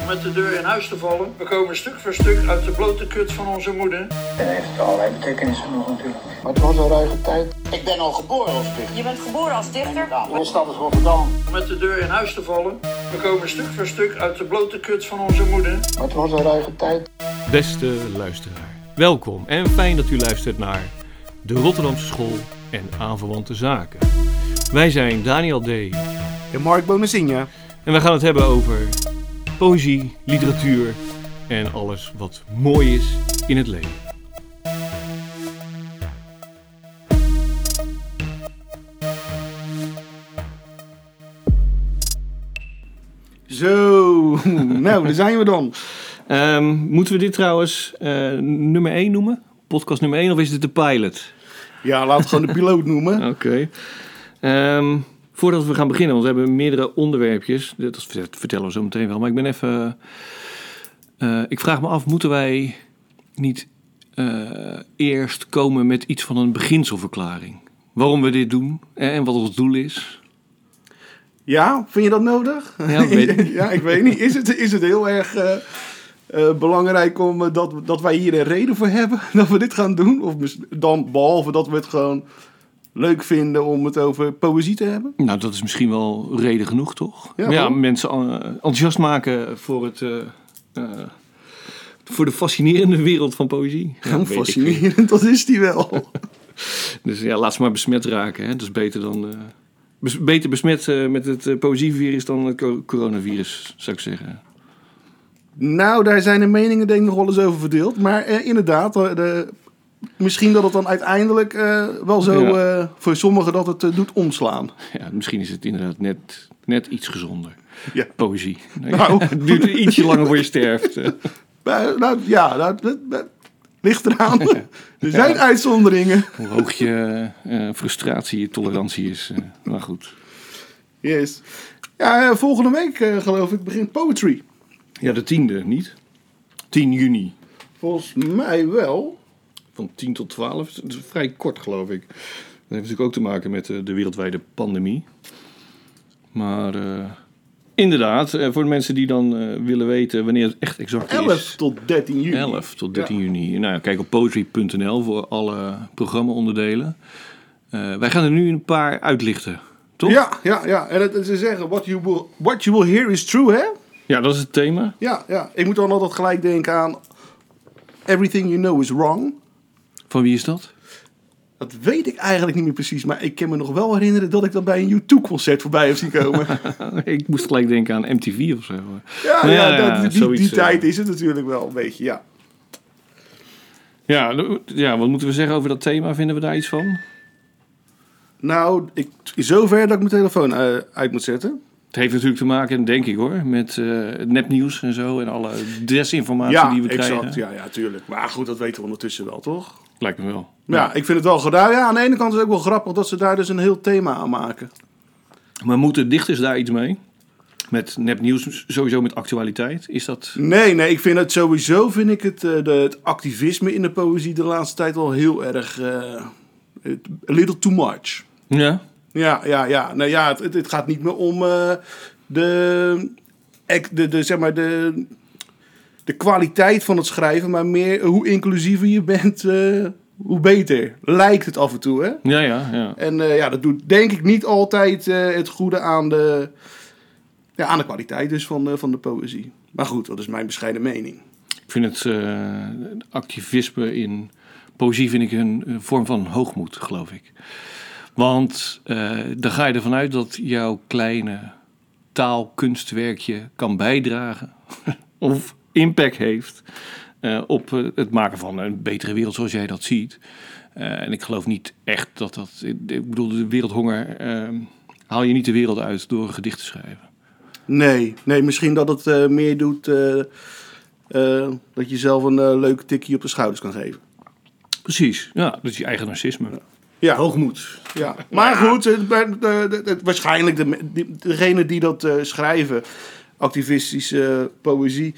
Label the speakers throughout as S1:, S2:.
S1: om met de deur in huis te vallen. We komen stuk voor stuk uit de blote kut van onze moeder.
S2: En heeft allerlei betekenissen nog natuurlijk.
S3: Maar het was een ruige tijd.
S4: Ik ben al geboren als dichter.
S5: Je bent geboren als dichter?
S4: Onze stad is Rotterdam.
S1: Om met de deur in huis te vallen. We komen stuk voor stuk uit de blote kut van onze moeder.
S3: Maar het was een ruige tijd.
S6: Beste luisteraar, welkom en fijn dat u luistert naar de Rotterdamse School en aanverwante zaken. Wij zijn Daniel D. en
S7: De Mark Bomezinja.
S6: wij gaan het hebben over poëzie, literatuur en alles wat mooi is in het leven.
S7: Zo, nou, daar zijn we dan.
S6: Ehm, moeten we dit trouwens eh, nummer 1 noemen? Podcast nummer 1 of is dit de pilot?
S7: Ja, laat het gewoon de piloot noemen.
S6: Oké. Ehm, voordat we gaan beginnen, want we hebben meerdere onderwerpjes. Dat vert- vertellen we zo meteen wel. Maar ik ben even. eh, ik vraag me af, moeten wij niet eh, eerst komen met iets van een beginselverklaring? Waarom we dit doen eh, en wat ons doel is?
S7: Ja, vind je dat nodig?
S6: Ja, weet-
S7: ja ik weet niet. Is het, is het heel erg eh, eh, belangrijk om, eh, dat, dat wij hier een reden voor hebben dat we dit gaan doen? Of mis- dan, behalve dat we het gewoon leuk vinden om het over poëzie te hebben?
S6: Nou, dat is misschien wel reden genoeg, toch?
S7: Ja,
S6: Maar ja
S7: toch?
S6: mensen eh, enthousiast maken voor het. eh, eh, voor de fascinerende wereld van poëzie. Ja,
S7: Gewoon
S6: weet ik veel.
S7: fascinerend, dat is die wel.
S6: Dus ja, laat ze maar besmet raken. Hè. Dat is beter dan. eh, bes- beter besmet eh, met het eh, poëzievirus dan het co- coronavirus, zou ik zeggen.
S7: nou, daar zijn de meningen denk ik nog wel eens over verdeeld. Maar eh, inderdaad, eh, de- misschien dat het dan uiteindelijk eh, wel zo
S6: Ja.
S7: eh, voor sommigen dat het eh, doet omslaan.
S6: Ja, misschien is het inderdaad net, net iets gezonder.
S7: Ja.
S6: Poëzie. Nee,
S7: Nou.
S6: het duurt ietsje langer voor je sterft. eh.
S7: Nou, nou, ja, nou, dat, dat ligt eraan. Er zijn uitzonderingen.
S6: Hoe hoog je eh, frustratie, je tolerantie is. eh. maar goed.
S7: Yes. Ja, eh, volgende week eh, geloof ik begint poetry.
S6: Ja, de tiende, niet? 10 juni.
S7: Volgens mij wel.
S6: Van 10 tot 12. Dat is vrij kort, geloof ik. Dat heeft natuurlijk ook te maken met eh, de wereldwijde pandemie. Maar eh, inderdaad, eh, voor de mensen die dan eh, willen weten wanneer het echt exact
S7: 11
S6: is.
S7: tot 13 juni.
S6: 11 tot 13 juni. Nou, ja, kijk op poetry.nl voor alle programmaonderdelen. Eh, wij gaan er nu een paar uitlichten, toch?
S7: Ja, ja, ja. En het, ze zeggen, what you, will, what you will hear is true, hè?
S6: Ja, dat is het thema.
S7: Ja, ja. Ik moet dan altijd gelijk denken aan Everything You Know Is Wrong.
S6: Van wie is dat?
S7: Dat weet ik eigenlijk niet meer precies, maar ik kan me nog wel herinneren dat ik dat bij een U2-concert voorbij heb zien komen.
S6: Ah, ik moest gelijk denken aan MTV of zo.
S7: ja, ja,
S6: Nou ja,
S7: dat- die, die
S6: zoiets, eh.
S7: tijd is het natuurlijk wel een beetje, ja.
S6: Ja, d- ja, wat moeten we zeggen over dat thema? Vinden we daar iets van?
S7: Nou, ik, zover dat ik mijn telefoon eh, uit moet zetten.
S6: Het heeft natuurlijk te maken, denk ik hoor, met eh, het nepnieuws en zo en alle desinformatie die we krijgen.
S7: Ja, ja, tuurlijk. Maar goed, dat weten we ondertussen wel, toch?
S6: Lijkt me wel.
S7: Ja, ik vind het wel gedaan. Ja, aan de ene kant is het ook wel grappig dat ze daar dus een heel thema aan maken.
S6: Maar moeten dichters daar iets mee? Met nepnieuws, sowieso met actualiteit. Is dat.
S7: Nee, nee, ik vind het sowieso, vind ik het, eh, de, het activisme in de poëzie de laatste tijd al heel erg, eh, het- a little too much.
S6: Ja.
S7: Ja, ja, ja. Nou ja, het- het, het gaat niet meer om eh, de, ec- de, de, zeg maar de, de kwaliteit van het schrijven, maar meer hoe inclusiever je bent, eh, hoe beter. Lijkt het af en toe, hè?
S6: Ja, ja, ja.
S7: En eh, ja, dat doet denk ik niet altijd eh, het goede aan de, ja, aan de kwaliteit dus van, eh, van de poëzie. Maar goed, dat is mijn bescheiden mening.
S6: Ik vind het eh, activisme in poëzie vind ik een, een vorm van hoogmoed, geloof ik. Want eh, dan ga je ervan uit dat jouw kleine taalkunstwerkje kan bijdragen of impact heeft eh, op eh, het maken van een betere wereld zoals jij dat ziet. Eh, en ik geloof niet echt dat dat. Ik bedoel, de wereldhonger eh, haal je niet de wereld uit door een gedicht te schrijven.
S7: Nee, nee misschien dat het eh, meer doet eh, eh, dat je zelf een eh, leuk tikje op de schouders kan geven.
S6: Precies, ja, dat is je eigen narcisme.
S7: Ja.
S6: Hoogmoed.
S7: Ja, maar goed, het, het- het- het- waarschijnlijk de, die- degene die dat eh, schrijven, activistische poëzie,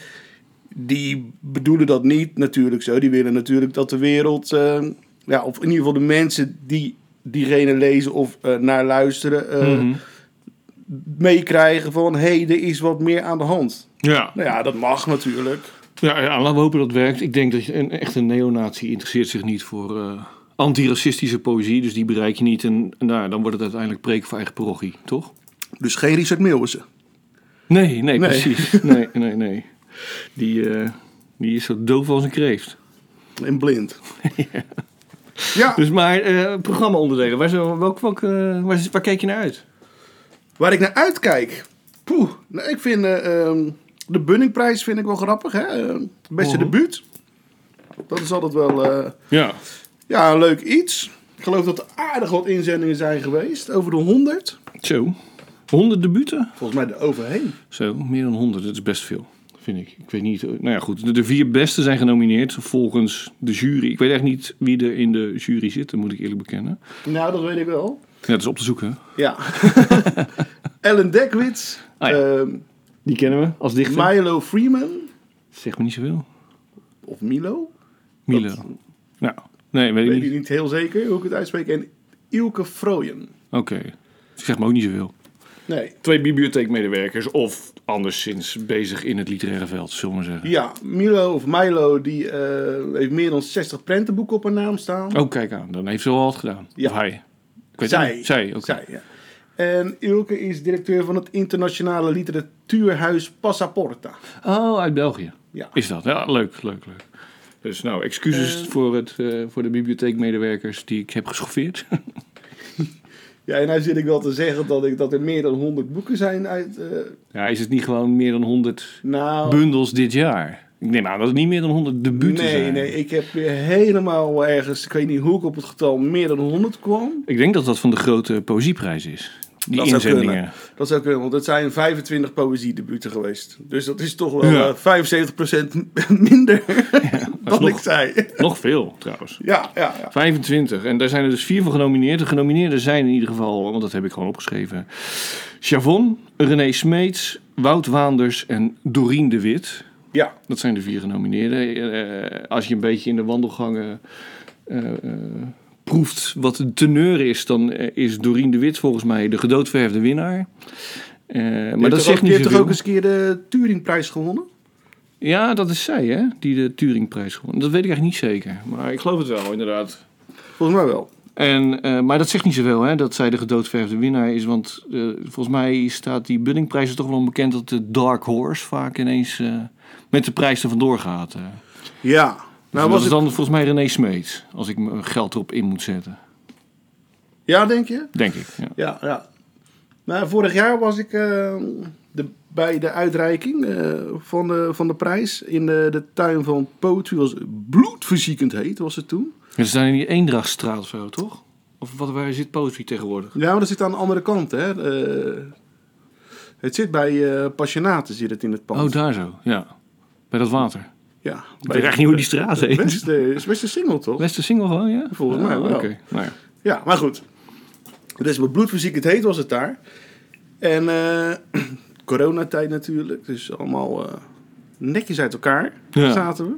S7: die bedoelen dat niet natuurlijk zo. Die willen natuurlijk dat de wereld, eh, ja, of in
S6: Mhm.
S7: ieder geval de mensen die diegene lezen of eh, naar luisteren, eh, meekrijgen van... hé, hey, er is wat meer aan de hand.
S6: Ja.
S7: Nou ja, dat mag natuurlijk.
S6: Ja, ja, laten we hopen dat het werkt. Ik denk dat je- een echte neonatie interesseert zich niet voor eh antiracistische poëzie. Dus die bereik je niet. En nou, ja, dan wordt het uiteindelijk preek voor eigen parochie, toch?
S7: Dus geen Richard Meeuwissen.
S6: Nee, nee,
S7: Nee.
S6: precies. Nee, nee, nee. Die, eh, die is zo doof als een kreeft.
S7: En blind. ja.
S6: Dus maar, eh programma-onderdelen. Waar, zou- welk, welk, eh, waar, waar keek je naar uit?
S7: Waar ik naar uitkijk. Poeh. Nou, ik vind eh, ehm, de Bunningprijs vind ik wel grappig. Hè? Eh, beste
S6: Mhm.
S7: debuut. Dat is altijd wel eh,
S6: Ja.
S7: ja, een leuk iets. Ik geloof dat er aardig wat inzendingen zijn geweest. Over de 100.
S6: Zo. 100 debuten?
S7: Volgens mij er overheen.
S6: Zo, meer dan 100. Dat is best veel, vind ik. Ik weet niet. eh, Nou ja, goed. De, de vier beste zijn genomineerd volgens de jury. Ik weet echt niet wie er in de jury zit, dat moet ik eerlijk bekennen.
S7: Nou, dat weet ik wel.
S6: Ja, dat is op te zoeken.
S7: Ja. Ellen Dekwits.
S6: Ah, ja.
S7: ehm,
S6: Die kennen we als dichter.
S7: Milo Freeman.
S6: Zeg me niet zoveel.
S7: Of Milo.
S6: Milo. Nou, nee, weet ik
S7: Weet ik
S6: niet.
S7: niet heel zeker hoe ik het uitspreek. En Ilke Froyen.
S6: Oké. Zeg me ook niet zoveel.
S7: Nee.
S6: Twee bibliotheekmedewerkers of anderszins bezig in het literaire veld, zullen we maar zeggen.
S7: Ja, Milo of Milo die eh, heeft meer dan 60 prentenboeken op haar naam staan.
S6: Oh, kijk aan. Dan heeft ze wel wat gedaan.
S7: Ja.
S6: Of hij. Ik weet het
S7: Zij.
S6: niet. Zij, oké.
S7: Zij, ja. En Ilke is directeur van het internationale literatuurhuis Passaporta.
S6: Oh, uit België.
S7: Ja.
S6: Is dat? Ja, leuk, leuk, leuk. Dus nou, excuses voor, het, eh, voor de bibliotheekmedewerkers die ik heb geschoffeerd.
S7: Ja, en nou zit ik wel te zeggen dat, ik, dat er meer dan 100 boeken zijn uit... eh,
S6: ja, is het niet gewoon meer dan 100
S7: nou,
S6: bundels dit jaar? Ik neem aan dat het niet meer dan 100 debuten
S7: nee,
S6: zijn.
S7: nee. Ik heb weer helemaal ergens, ik weet niet hoe ik op het getal meer dan 100 kwam.
S6: Ik denk dat dat van de grote poëzieprijs is. Die
S7: Dat zou
S6: inzendingen.
S7: Dat zou kunnen, want het zijn 25 poëziedebuten geweest. Dus dat is toch wel
S6: Ja.
S7: eh, 75% minder
S6: dat is
S7: dan
S6: nog-
S7: ik zei.
S6: Nog veel trouwens.
S7: Ja, ja, ja.
S6: 25. En daar zijn er dus vier van genomineerd. De genomineerden zijn in ieder geval, want dat heb ik gewoon opgeschreven. Chavon, René Smeets, Wout Waanders en Dorien de Wit.
S7: ja.
S6: Dat zijn de vier genomineerden. Eh, als je een beetje in de wandelgangen eh, eh, proeft wat de teneur is, dan eh, is Dorien de Wit volgens mij de gedoodverfde winnaar. Eh, maar dat zegt
S7: ook,
S6: niet
S7: heeft toch
S6: zoveel.
S7: ook eens een keer de Turingprijs gewonnen?
S6: Ja, dat is zij, hè? Die de Turingprijs gewonnen. Dat weet ik eigenlijk niet zeker. Maar ik geloof het wel, inderdaad.
S7: Volgens mij wel.
S6: En, eh, maar dat zegt niet zoveel, hè, dat zij de gedoodverfde winnaar is. Want eh, volgens mij staat die Bunningprijs er toch wel bekend dat de Dark Horse vaak ineens eh, met de prijs er vandoor gaat. eh.
S7: Ja.
S6: Nou,
S7: Nou,
S6: dat
S7: was
S6: is
S7: het...
S6: dan volgens mij René Smeet, als ik mijn geld erop in moet zetten.
S7: Ja, denk je?
S6: Denk ik. Ja.
S7: Ja, ja. Nou, vorig jaar was ik eh, de, bij de uitreiking eh, van, de, van de prijs in de, de tuin van Poetry. was bloedverziekend heet, was het toen.
S6: Ze staan in die Eendrachtstraat of zo, toch? Of wat, waar zit poetry tegenwoordig?
S7: Ja, maar dat zit aan de andere kant, hè. Eh, het zit bij eh, Passionaten, zit het in het pand.
S6: Oh, daar zo, ja. Bij dat water.
S7: ja.
S6: Ik weet echt niet hoe die straat heet.
S7: Best, eh, is best een single, toch?
S6: Westersingel gewoon, ja?
S7: Volgens mij wel.
S6: Oké, nou ja.
S7: Ja, maar goed. Dus mijn bloedfysiek, het heet was het daar. En eh coronatijd natuurlijk. Dus allemaal eh, netjes uit elkaar
S6: Ja.
S7: zaten we.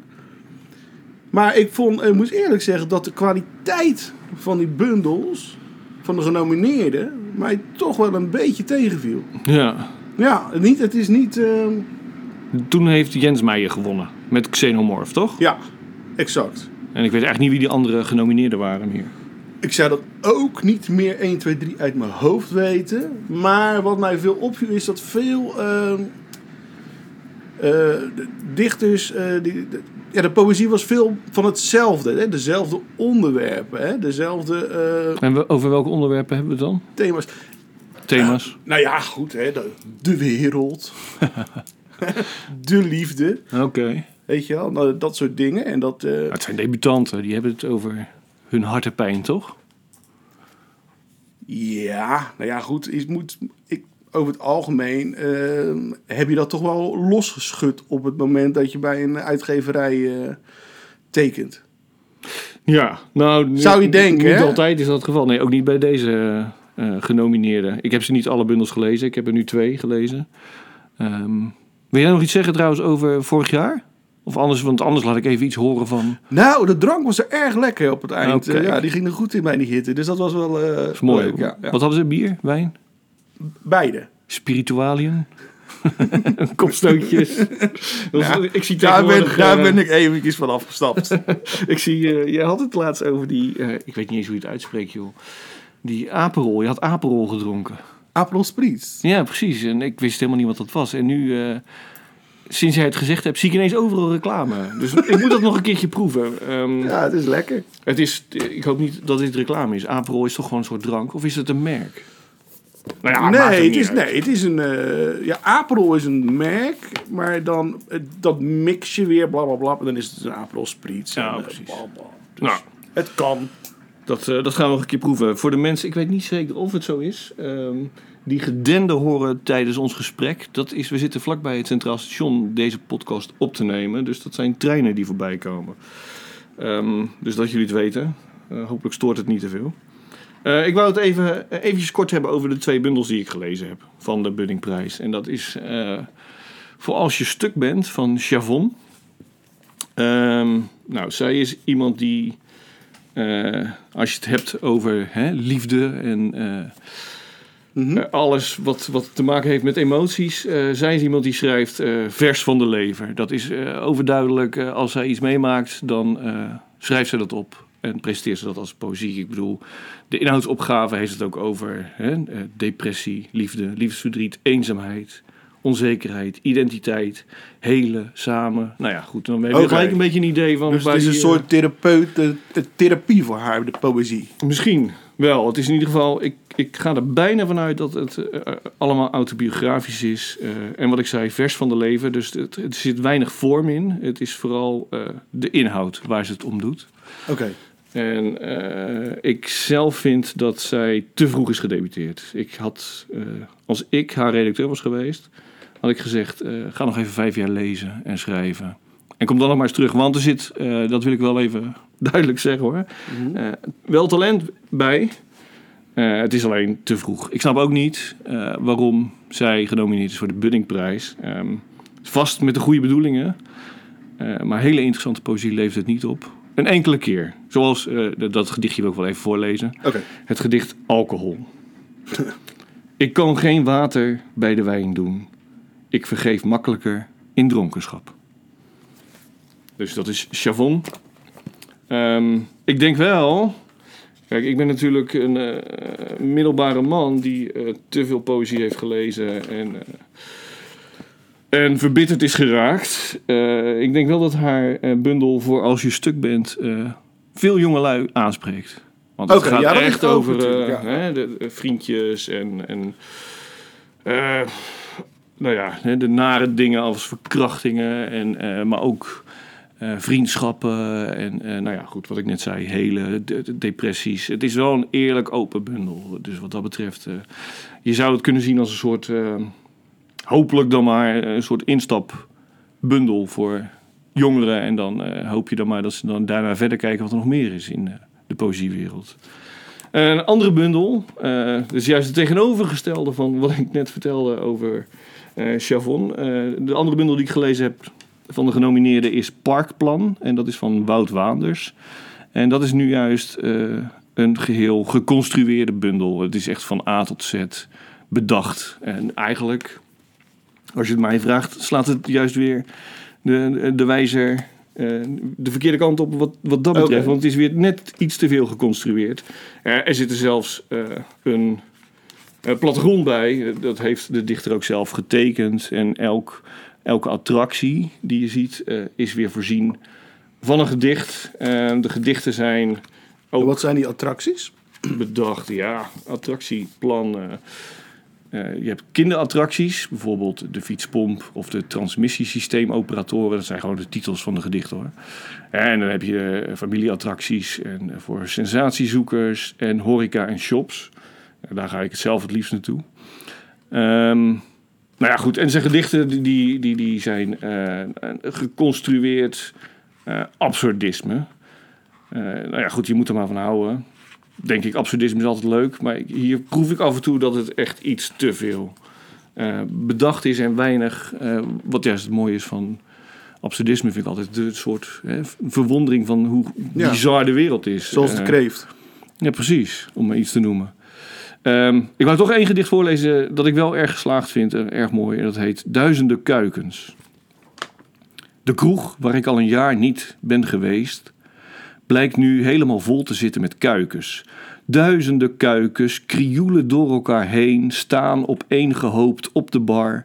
S7: Maar ik vond, ik moet eerlijk zeggen, dat de kwaliteit van die bundels, van de genomineerden, mij toch wel een beetje tegenviel.
S6: Ja.
S7: Ja, niet, het is niet. eh,
S6: Toen heeft Jens Meijer gewonnen. Met Xenomorph, toch?
S7: ja, exact.
S6: En ik weet echt niet wie die andere genomineerden waren hier.
S7: Ik zou dat ook niet meer 1, 2, 3 uit mijn hoofd weten. Maar wat mij veel opviel is dat veel ehm, eh, de dichters. eh, die, de, ja, de poëzie was veel van hetzelfde. Hè? Dezelfde onderwerpen, hè? dezelfde eh,
S6: En we- over welke onderwerpen hebben we het dan?
S7: thema's.
S6: Thema's.
S7: Nou ja, goed, hè? De, de wereld. de liefde.
S6: Oké.
S7: Weet je wel, nou, dat soort dingen. En dat, eh,
S6: Het zijn debutanten, die hebben het over hun hartepijn, toch?
S7: Ja, nou ja, goed. Is, moet, ik, over het algemeen ehm, heb je dat toch wel losgeschud op het moment dat je bij een uitgeverij eh, tekent.
S6: Ja, nou... nu-
S7: Zou je denken,
S6: Niet
S7: hè?
S6: altijd is dat het geval. Nee, ook niet bij deze eh genomineerden. Ik heb ze niet alle bundels gelezen. Ik heb er nu twee gelezen. Ehm, wil jij nog iets zeggen trouwens over vorig jaar? Of anders, want anders laat ik even iets horen van...
S7: Nou, de drank was er erg lekker op het eind.
S6: Oké.
S7: Eh, ja, die ging er goed in bij die hitte. Dus dat was wel eh,
S6: Dat is mooi.
S7: leuk. Ja, ja.
S6: Wat hadden ze? Bier? Wijn?
S7: Beide.
S6: Spiritualium. Kopstootjes. Dat is- ik zie
S7: Daar ben,
S6: tegenwoordig,
S7: daar
S6: eh,
S7: ben ik eventjes van afgestapt.
S6: Ik zie, eh, jij had het laatst over die, eh, ik weet niet eens hoe je het uitspreekt joh. Die aperol, je had aperol gedronken.
S7: April Spritz.
S6: Ja, precies. En ik wist helemaal niet wat dat was. En nu, eh, sinds jij het gezegd hebt, zie ik ineens overal reclame. Dus ik moet dat nog een keertje proeven. Ehm,
S7: Ja, het is lekker.
S6: het is, ik hoop niet dat dit reclame is. Aperol is toch gewoon een soort drank? Of is het een merk? Nou ja, maakt
S7: nee,
S6: niet
S7: het is,
S6: uit.
S7: nee, het is een. eh, ja, April is een merk, maar dan eh, dat mix je weer, bla bla bla. En dan is het een April Spritz.
S6: Ja,
S7: en, eh,
S6: precies.
S7: bla, bla.
S6: Nou,
S7: Het kan.
S6: Dat, eh, dat gaan we nog een keer proeven. Voor de mensen, ik weet niet zeker of het zo is, ehm, die gedenden horen tijdens ons gesprek. Dat is, we zitten vlakbij het Centraal Station deze podcast op te nemen. Dus dat zijn treinen die voorbij komen. Ehm, dus dat jullie het weten. Eh, hopelijk stoort het niet te veel. Eh, ik wou het even eh, eventjes kort hebben over de twee bundels die ik gelezen heb van de Buddingprijs. En dat is eh, voor als je stuk bent van Chavon. Ehm, nou, zij is iemand die eh, als je het hebt over hè, liefde en eh,
S7: Mhm.
S6: eh, alles wat, wat te maken heeft met emoties. eh zij is iemand die schrijft eh, vers van de lever. Dat is eh, overduidelijk. eh, als zij iets meemaakt, dan eh, schrijft ze dat op. En presenteert ze dat als poëzie. Ik bedoel, de inhoudsopgave heeft het ook over hè, eh, depressie, liefde, liefdesverdriet, eenzaamheid, onzekerheid, identiteit, hele, samen. Nou ja, goed, dan heb je
S7: Oké.
S6: gelijk een beetje een idee van
S7: Dus
S6: waar
S7: het is een
S6: die, eh,
S7: soort therapeut, eh, eh, therapie voor haar, de poëzie.
S6: Misschien wel. Het is in ieder geval. Ik, ik ga er bijna vanuit dat het eh, eh, allemaal autobiografisch is. Eh, en wat ik zei, vers van de leven. Dus het, het zit weinig vorm in. Het is vooral eh, de inhoud waar ze het om doet.
S7: Oké.
S6: En eh, ik zelf vind dat zij te vroeg is gedebuteerd. Ik had, eh, als ik haar redacteur was geweest, had ik gezegd: eh, ga nog even vijf jaar lezen en schrijven. En kom dan nog maar eens terug, want er zit, eh, dat wil ik wel even duidelijk zeggen hoor, eh, wel talent bij. Eh, het is alleen te vroeg. Ik snap ook niet eh, waarom zij genomineerd is voor de Buddingprijs. Ehm, vast met de goede bedoelingen. Eh, maar hele interessante poëzie levert het niet op. Een enkele keer. Zoals, eh, d- dat gedichtje wil ik wel even voorlezen.
S7: Oké.
S6: Het gedicht Alcohol. ik kan geen water bij de wijn doen. Ik vergeef makkelijker in dronkenschap. Dus dat is Chavon. Ehm, ik denk wel... Kijk, ik ben natuurlijk een eh, middelbare man die eh, te veel poëzie heeft gelezen en... eh, en verbitterd is geraakt. Eh, ik denk wel dat haar eh, bundel voor als je stuk bent eh, veel jongelui aanspreekt. Want het
S7: Oké,
S6: gaat
S7: ja, dat ligt
S6: echt
S7: ook
S6: over eh,
S7: natuurlijk, ja.
S6: hè, de, de vriendjes en, en eh, nou ja, hè, de nare dingen als verkrachtingen, en, eh, maar ook eh, vriendschappen en eh, nou ja, goed, wat ik net zei, hele de- de- depressies. Het is wel een eerlijk open bundel. Dus wat dat betreft, eh, je zou het kunnen zien als een soort, eh, hopelijk dan maar, eh, een soort instapbundel voor jongeren. En dan eh, hoop je dan maar dat ze dan daarna verder kijken wat er nog meer is in eh, de poëziewereld. Een andere bundel, eh dus juist het tegenovergestelde van wat ik net vertelde over eh, Chavon. Eh, de andere bundel die ik gelezen heb van de genomineerden is Parkplan. En dat is van Wout Waanders. En dat is nu juist eh, een geheel geconstrueerde bundel. Het is echt van A tot Z bedacht. En eigenlijk, als je het mij vraagt, slaat het juist weer de, de wijzer eh, de verkeerde kant op wat, wat dat betreft.
S7: Oké.
S6: Want het is weer net iets te veel geconstrueerd. Eh, er zit er zelfs eh, een eh, plattegrond bij. Eh, dat heeft de dichter ook zelf getekend. En elk, elke attractie die je ziet eh, is weer voorzien van een gedicht. Eh, de gedichten zijn ook
S7: Wat zijn die attracties?
S6: bedacht. Ja, attractieplan. eh. Eh, je hebt kinderattracties, bijvoorbeeld de fietspomp of de transmissiesysteemoperatoren. Dat zijn gewoon de titels van de gedichten hoor. En dan heb je eh, familieattracties en eh, voor sensatiezoekers en horeca en shops. Eh, daar ga ik het zelf het liefst naartoe. Ehm, nou ja, goed. En zijn gedichten die- die, die, die zijn eh, een geconstrueerd eh, absurdisme. Eh, nou ja, goed, je moet er maar van houden denk ik, absurdisme is altijd leuk. Maar ik- hier proef ik af en toe dat het echt iets te veel eh, bedacht is en weinig. eh, wat juist het mooie is van absurdisme, vind ik altijd de soort hè, verwondering van hoe
S7: Ja.
S6: bizar de wereld is.
S7: Zoals de
S6: Eh,
S7: kreeft.
S6: ja, precies, om maar iets te noemen. Eh, Ehm, ik wou toch één gedicht voorlezen dat ik wel erg geslaagd vind en erg mooi. En dat heet Duizenden Kuikens. De kroeg waar ik al een jaar niet ben geweest, blijkt nu helemaal vol te zitten met kuikens. Duizenden kuikens krioelen door elkaar heen, staan opeengehoopt op de bar,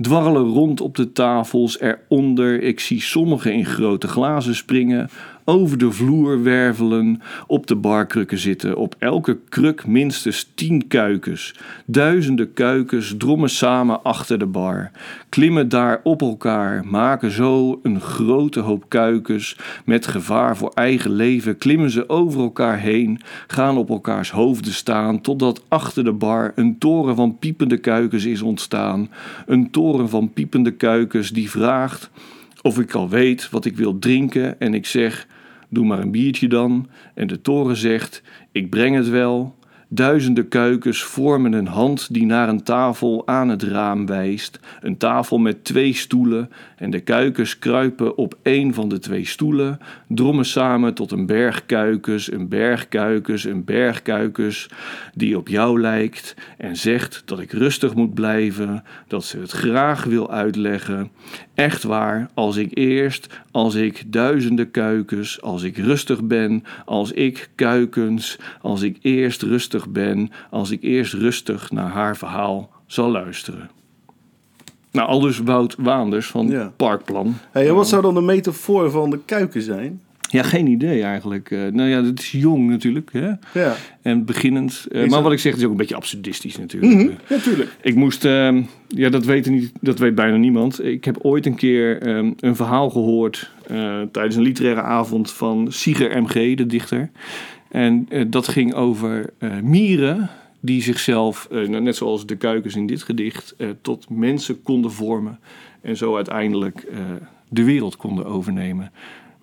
S6: dwarrelen rond op de tafels eronder. Ik zie sommigen in grote glazen springen, over de vloer wervelen, op de barkrukken zitten. Op elke kruk minstens tien kuikens. Duizenden kuikens drommen samen achter de bar, klimmen daar op elkaar, maken zo een grote hoop kuikens. Met gevaar voor eigen leven klimmen ze over elkaar heen, gaan op elkaars hoofden staan, totdat achter de bar een toren van piepende kuikens is ontstaan. Een toren van piepende kuikens die vraagt of ik al weet wat ik wil drinken en ik zeg, doe maar een biertje dan. En de toren zegt, ik breng het wel. Duizenden kuikens vormen een hand die naar een tafel aan het raam wijst. Een tafel met twee stoelen en de kuikens kruipen op één van de twee stoelen, drommen samen tot een berg kuikens, een berg kuikens, een berg kuikens die op jou lijkt en zegt dat ik rustig moet blijven, dat ze het graag wil uitleggen. Echt waar, als ik eerst, als ik duizenden kuikens, als ik rustig ben, als ik kuikens, als ik eerst rustig ben, als ik eerst rustig naar haar verhaal zal luisteren. Nou, aldus Wout Waanders van
S7: Ja.
S6: Parkplan.
S7: Hey, en wat zou dan de metafoor van de kuiken zijn?
S6: Ja, geen idee eigenlijk. Eh, nou ja, dat is jong natuurlijk. Hè?
S7: Ja,
S6: En beginnend. Eh,
S7: Is
S6: maar
S7: dat-
S6: wat ik zeg is ook een beetje absurdistisch natuurlijk.
S7: natuurlijk.
S6: Ik moest, ehm, ja, dat weet, niet, dat weet bijna niemand. Ik heb ooit een keer ehm, een verhaal gehoord eh, tijdens een literaire avond van Sieger M.G., de dichter. En eh, dat ging over eh, mieren die zichzelf, eh, nou, net zoals de kuikens in dit gedicht, eh, tot mensen konden vormen. En zo uiteindelijk eh, de wereld konden overnemen.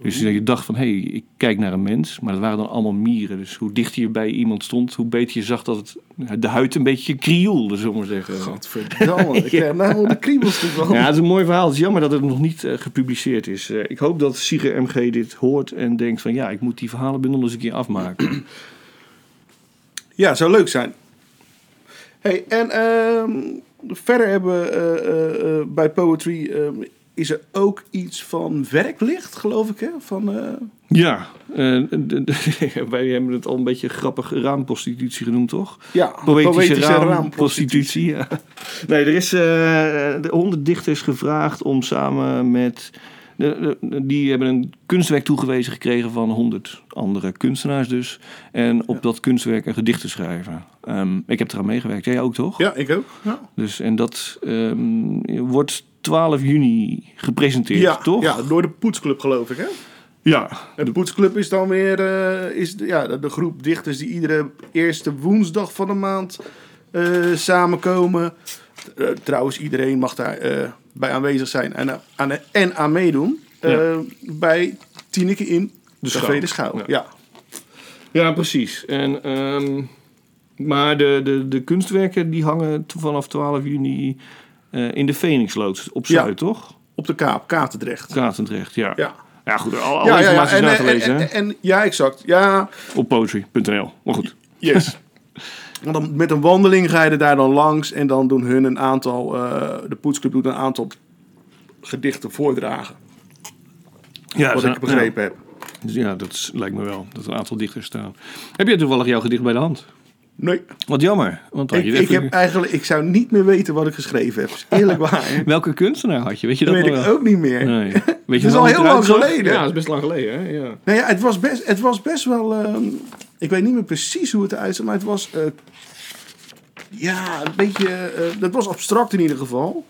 S6: Dus je dacht van, hé, hey, ik kijk naar een mens, maar dat waren dan allemaal mieren. Dus hoe dichter je bij iemand stond, hoe beter je zag dat het, nou, de huid een beetje krioelde, zullen we maar zeggen.
S7: Godverdamme, ik krijg nou wel de kriebels ervan.
S6: Ja, het is een mooi verhaal. Het is jammer dat het nog niet eh, gepubliceerd is. Eh, ik hoop dat Sieger MG dit hoort en denkt van, ja, ik moet die verhalenbundel eens een keer afmaken.
S7: Ja, zou leuk zijn. Hey, en ehm, verder hebben we eh, eh, eh, bij Poetry ehm, is er ook iets van werklicht, geloof ik, hè? Van, eh,
S6: ja, eh, de- de- wij hebben het al een beetje grappig raamprostitutie genoemd, toch?
S7: ja,
S6: raam-
S7: Oh, raamprostitutie.
S6: prostitutie, ja. Nee, er is eh, de honderd dichters gevraagd om samen met... de- de- die hebben een kunstwerk toegewezen gekregen van honderd andere kunstenaars dus. En op dat kunstwerk een gedicht te schrijven. Ehm, ik heb eraan meegewerkt. Jij ook toch?
S7: Ja, ik ook. Ja,
S6: Dus, en dat ehm, wordt 12 juni gepresenteerd,
S7: ja,
S6: toch?
S7: ja, door de Poetsclub, geloof ik, hè?
S6: ja.
S7: En de Poetsclub is dan weer eh, is de, ja, de de groep dichters die iedere eerste woensdag van de maand eh, samenkomen. Eh, trouwens, iedereen mag daar eh, bij aanwezig zijn en, eh, aan, en aan meedoen. Eh,
S6: Ja.
S7: Bij Tineke in de
S6: Schouw.
S7: Café de Schouw.
S6: Ja.
S7: Ja.
S6: Ja, precies. En, ehm, maar de, de, de kunstwerken die hangen t- vanaf 12 juni eh, in de Phoenixloods op
S7: Ja.
S6: Zuid, toch?
S7: op de Kaap, Katendrecht.
S6: Katendrecht, ja.
S7: Ja.
S6: Ja, goed, al- alle
S7: Ja, ja, ja.
S6: informatie
S7: En, eh,
S6: is na te
S7: en,
S6: lezen,
S7: en,
S6: hè?
S7: en- ja, exact. Ja,
S6: Op poetry.nl. Maar goed.
S7: yes. Want dan, met een wandeling ga je er daar dan langs en dan doen hun een aantal, eh, de Poetsclub doet een aantal gedichten voordragen.
S6: Ja,
S7: Wat
S6: zijn-
S7: ik begrepen heb.
S6: Ja, Dus ja, dat is- lijkt me wel. Dat er een aantal dichters staan. Heb jij toevallig jouw gedicht bij de hand?
S7: Nee,
S6: Wat jammer. Want dan
S7: ik,
S6: had je
S7: ik,
S6: even-
S7: heb eigenlijk, ik zou niet meer weten wat ik geschreven heb. Is Eerlijk waar.
S6: Welke kunstenaar had je? Weet je
S7: Dat
S6: dat
S7: weet
S6: nog
S7: ik
S6: wel?
S7: ook niet meer.
S6: Nee. Weet je wel
S7: is al
S6: hoe het
S7: heel lang
S6: eruit zag?
S7: geleden.
S6: Ja, dat is best lang geleden, hè? Ja.
S7: Nou ja, het was best, het was best wel... ehm, ik weet niet meer precies hoe het eruit zag, maar het was... eh, ja, een beetje... eh, dat was abstract in ieder geval.